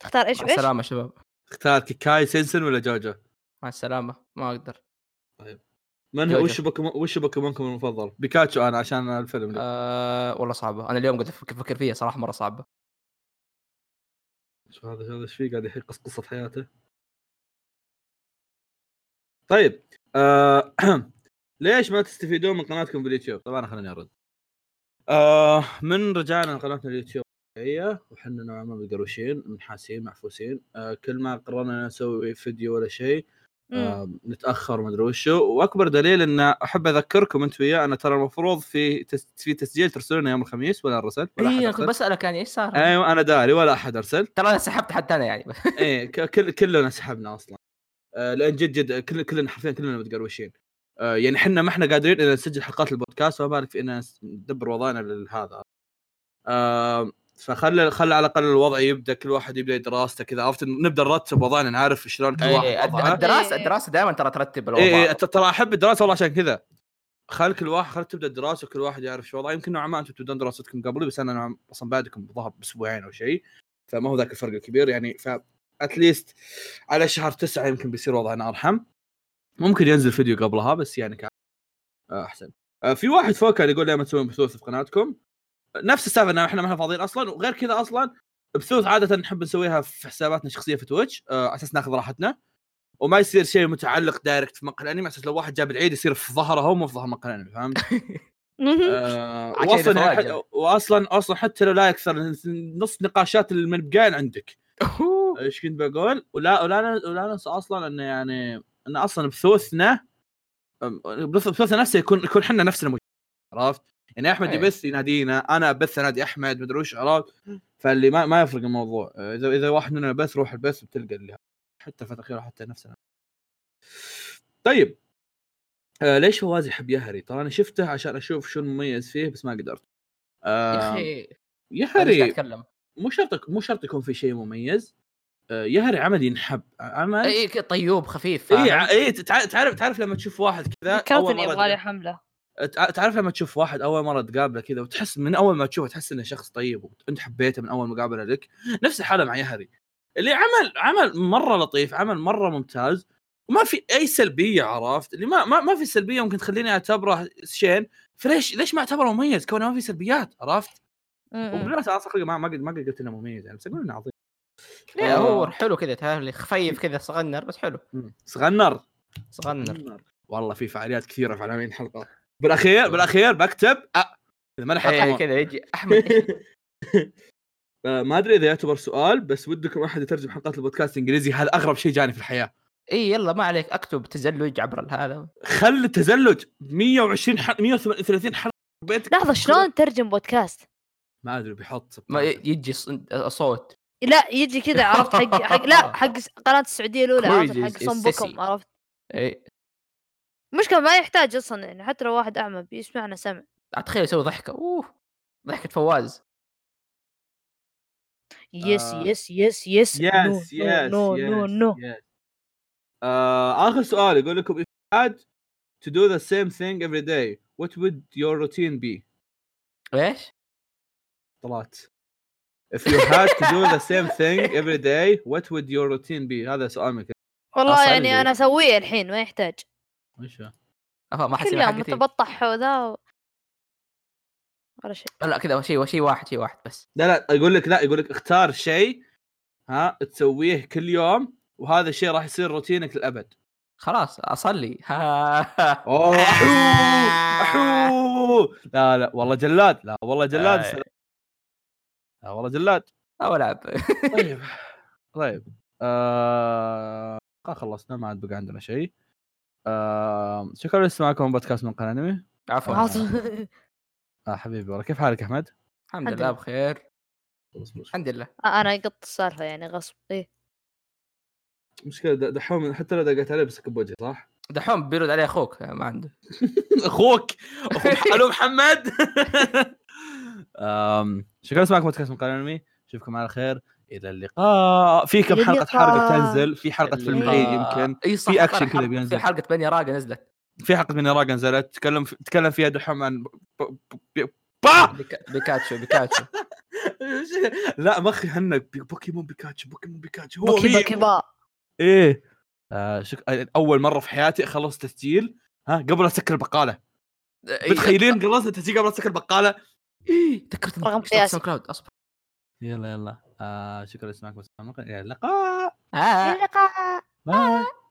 S3: تختار ايش
S2: مع
S3: ايش؟
S2: السلامه شباب
S1: اختار كيكاي سنسن ولا جوجو
S2: مع السلامه ما اقدر
S1: من
S2: جوجو.
S1: وش بوكيمون وش بوكيمونكم المفضل؟ بيكاتشو انا عشان الفيلم لي.
S2: أه والله صعبه انا اليوم قاعد أفكر- افكر فيها صراحه مره صعبه
S1: شوف هذا هذا ايش فيه قاعد يحكي قصه حياته طيب آه ليش ما تستفيدون من قناتكم في اليوتيوب؟ طبعا خليني ارد آه من رجعنا قناتنا اليوتيوب طبيعية، وحنا نوعا ما متقروشين منحاسين معفوسين آه كل ما قررنا نسوي فيديو ولا شيء
S3: مم.
S1: آه، نتاخر ما ادري وشو واكبر دليل ان احب اذكركم انت وياه انا ترى المفروض في تس... في تسجيل ترسلونه يوم الخميس ولا ارسل ولا أحد
S2: اي انا كنت
S1: أرسل.
S2: بسالك يعني ايش صار
S1: ايوه انا داري ولا احد ارسل
S2: ترى انا سحبت حتى انا يعني
S1: ايه ك- كل كلنا سحبنا اصلا آه، لان جد جد كل كلنا حرفيا كلنا متقروشين آه، يعني احنا ما احنا قادرين ان نسجل حلقات البودكاست فما بالك في ان نس- ندبر وضعنا لهذا آه، فخلى خلى على الاقل الوضع يبدا كل واحد يبدا دراسته كذا عرفت نبدا نرتب وضعنا نعرف شلون كل
S2: إيه،
S1: واحد
S2: الد-
S1: وضعه.
S2: الدراسه
S3: إيه.
S2: الدراسه دائما ترى ترتب الوضع
S1: اي إيه، ترى احب الدراسه والله عشان كذا خل كل واحد خل تبدا الدراسه وكل واحد يعرف شو وضعه يمكن نوعا ما انتم تبدون دراستكم قبلي بس انا نوعاً- اصلا بادكم بظهر باسبوعين او شيء فما هو ذاك الفرق الكبير يعني ف اتليست على شهر تسعه يمكن بيصير وضعنا ارحم ممكن ينزل فيديو قبلها بس يعني كان آه، احسن آه، في واحد فوق كان يقول لما تسوون بثوث في قناتكم نفس السالفه ان احنا ما احنا فاضيين اصلا وغير كذا اصلا بثوث عاده نحب نسويها في حساباتنا الشخصيه في تويتش آه، على اساس ناخذ راحتنا وما يصير شيء متعلق دايركت في مقهى الانمي على اساس لو واحد جاب العيد يصير في ظهره هو مو في ظهر مقهى الانمي فهمت؟ آه،
S2: عشان
S1: واصلا يعني
S2: الفواجع.
S1: ح- واصلا اصلا حتى لو لا يكثر نص نقاشات المنبقين عندك
S2: أوه.
S1: ايش كنت بقول ولا ولا ن- ولا ننسى اصلا انه يعني ان اصلا بثوثنا أم، بث- بثوثنا نفسه يكون يكون احنا نفسنا موجودين، عرفت؟ يعني احمد
S2: أي.
S1: يبث ينادينا انا ابث انادي احمد مدري وش عرفت؟ فاللي ما, ما يفرق الموضوع آه، اذا اذا واحد مننا بث روح البث بتلقى اللي حتى الفتره الاخيره حتى نفسنا طيب آه ليش فواز يحب يهري؟ ترى انا شفته عشان اشوف شو المميز فيه بس ما قدرت.
S2: يا
S1: آه
S2: اخي أنا مش قاعد
S1: يهري
S2: اتكلم
S1: مو شرط مو شرط يكون في شيء مميز آه، يهري عمل ينحب عمل اي
S2: اي ك- طيوب خفيف إيه،
S1: إيه،
S2: فاهم؟
S1: اي تع- تعرف تعرف لما تشوف واحد كذا اول
S3: ذكرتني
S1: مره
S3: يبغالي
S1: تقابله-
S3: حمله
S1: تع- تعرف لما تشوف واحد اول مره تقابله كذا وتحس من اول ما تشوفه تحس انه شخص طيب وانت حبيته من اول مقابله لك نفس الحاله مع يهري اللي عمل عمل مره لطيف عمل مره ممتاز وما في اي سلبيه عرفت اللي ما ما, ما في سلبيه ممكن تخليني اعتبره شين فليش ليش ما اعتبره مميز كونه ما في سلبيات عرفت
S2: إيه.
S1: وبالمناسبه اصلا خلقه ما ما قد- ما قد قلت انه مميز يعني بس اقول انه عظيم آه،
S2: لا، هو حلو كذا تعرف لي خفيف كذا صغنر بس حلو
S1: صغنر
S2: صغنر
S1: والله في فعاليات كثيره في عناوين حلقه بالاخير بالاخير بكتب أ... إذا ما لحقت
S2: إيه،
S1: أمر.
S2: كذا يجي احمد
S1: آه، ما ادري اذا يعتبر سؤال بس ودكم احد يترجم حلقات البودكاست الانجليزي هذا اغرب شيء جاني في الحياه
S2: اي إيه، يلا ما عليك اكتب تزلج عبر هذا
S1: خل التزلج 120 حلقه 130 حلقه بيتك
S3: لحظه شلون ترجم بودكاست؟
S1: ما ادري بيحط
S2: ما ي- يجي ص- صوت
S3: لا يجي كذا عرفت حق حق لا حق س- قناه السعوديه الاولى عرفت
S2: كويجي،
S3: حق صنبكم
S2: السيسي.
S3: عرفت
S2: إيه.
S3: مشكلة ما يحتاج اصلا يعني حتى لو واحد اعمى بيسمعنا سمع
S2: اتخيل يسوي ضحكه اوه ضحكه فواز
S3: يس
S1: آه.
S3: يس يس يس
S1: يس يس
S3: نو نو نو
S1: اخر Uh, سؤال يقول لكم if you had to do the same thing every day what would your routine be
S2: ايش؟
S1: طلعت if you had to do the same thing every day what would your routine be هذا سؤال من
S3: والله
S1: أصعب
S3: يعني
S1: شيء.
S3: انا اسويه الحين ما يحتاج
S1: وش ها؟
S2: افا ما حد
S3: كل
S2: سمع
S3: يوم
S2: حقتي
S3: متبطح وذا و... ولا شيء
S2: لا كذا شيء شيء واحد شيء واحد بس
S1: لا لا يقول لك لا يقول لك اختار شيء ها تسويه كل يوم وهذا الشيء راح يصير روتينك للابد
S2: خلاص اصلي
S1: اوه احو احو لا لا والله جلاد لا والله جلاد
S2: آي.
S1: لا والله جلاد
S2: او العب
S1: طيب طيب آه... خلصنا ما عاد بقى عندنا شيء آه... شكرا لاستماعكم بودكاست من قناه انمي
S2: عفوا
S1: آه.
S3: عظم.
S1: آه حبيبي والله كيف حالك احمد؟
S2: الحمد
S3: الحمد
S2: لله
S3: لله.
S2: بخير الحمد لله
S3: انا قط السالفه يعني غصب ايه
S1: مشكله د- دحوم حتى لو دقت عليه بسك بوجهي صح؟
S2: دحوم بيرد عليه اخوك ما عنده
S1: اخوك اخوك حلو محمد آم، شكرا لسماعكم بودكاست من قناه انمي اشوفكم على خير الى اللقاء في كم
S3: إلى
S1: حلقه
S3: اللقاء.
S1: حرق بتنزل في حلقه فيلم
S2: اللي-
S1: عيد يمكن
S2: اي آه، صح
S1: في
S2: طلع
S1: أكشن كذا
S2: حلقة-
S1: بينزل.
S2: في حلقه بني راقه نزلت
S1: في حلقه من راقه نزلت تكلم تكلم فيها دحوم عن ب- ب- ب- با
S2: بيكا- بيكاتشو بيكاتشو
S1: لا مخي هنك بي- بوكيمون بيكاتشو بوكيمون بيكاتشو هو آه.
S3: بكي
S1: مين؟
S3: بكي با
S1: ايه آه شك... اول مره في حياتي اخلص تسجيل ها قبل اسكر البقاله إيه،
S2: إي،
S1: متخيلين خلصت التسجيل قبل اسكر البقاله
S2: إي، تذكرت إنك
S3: رقم
S2: تشتغل
S3: قياسي.
S2: ساوند كلاود اصبر
S1: يلا يلا آه شكرا لسماعكم الى اللقاء
S2: آه.
S3: الى اللقاء
S1: باي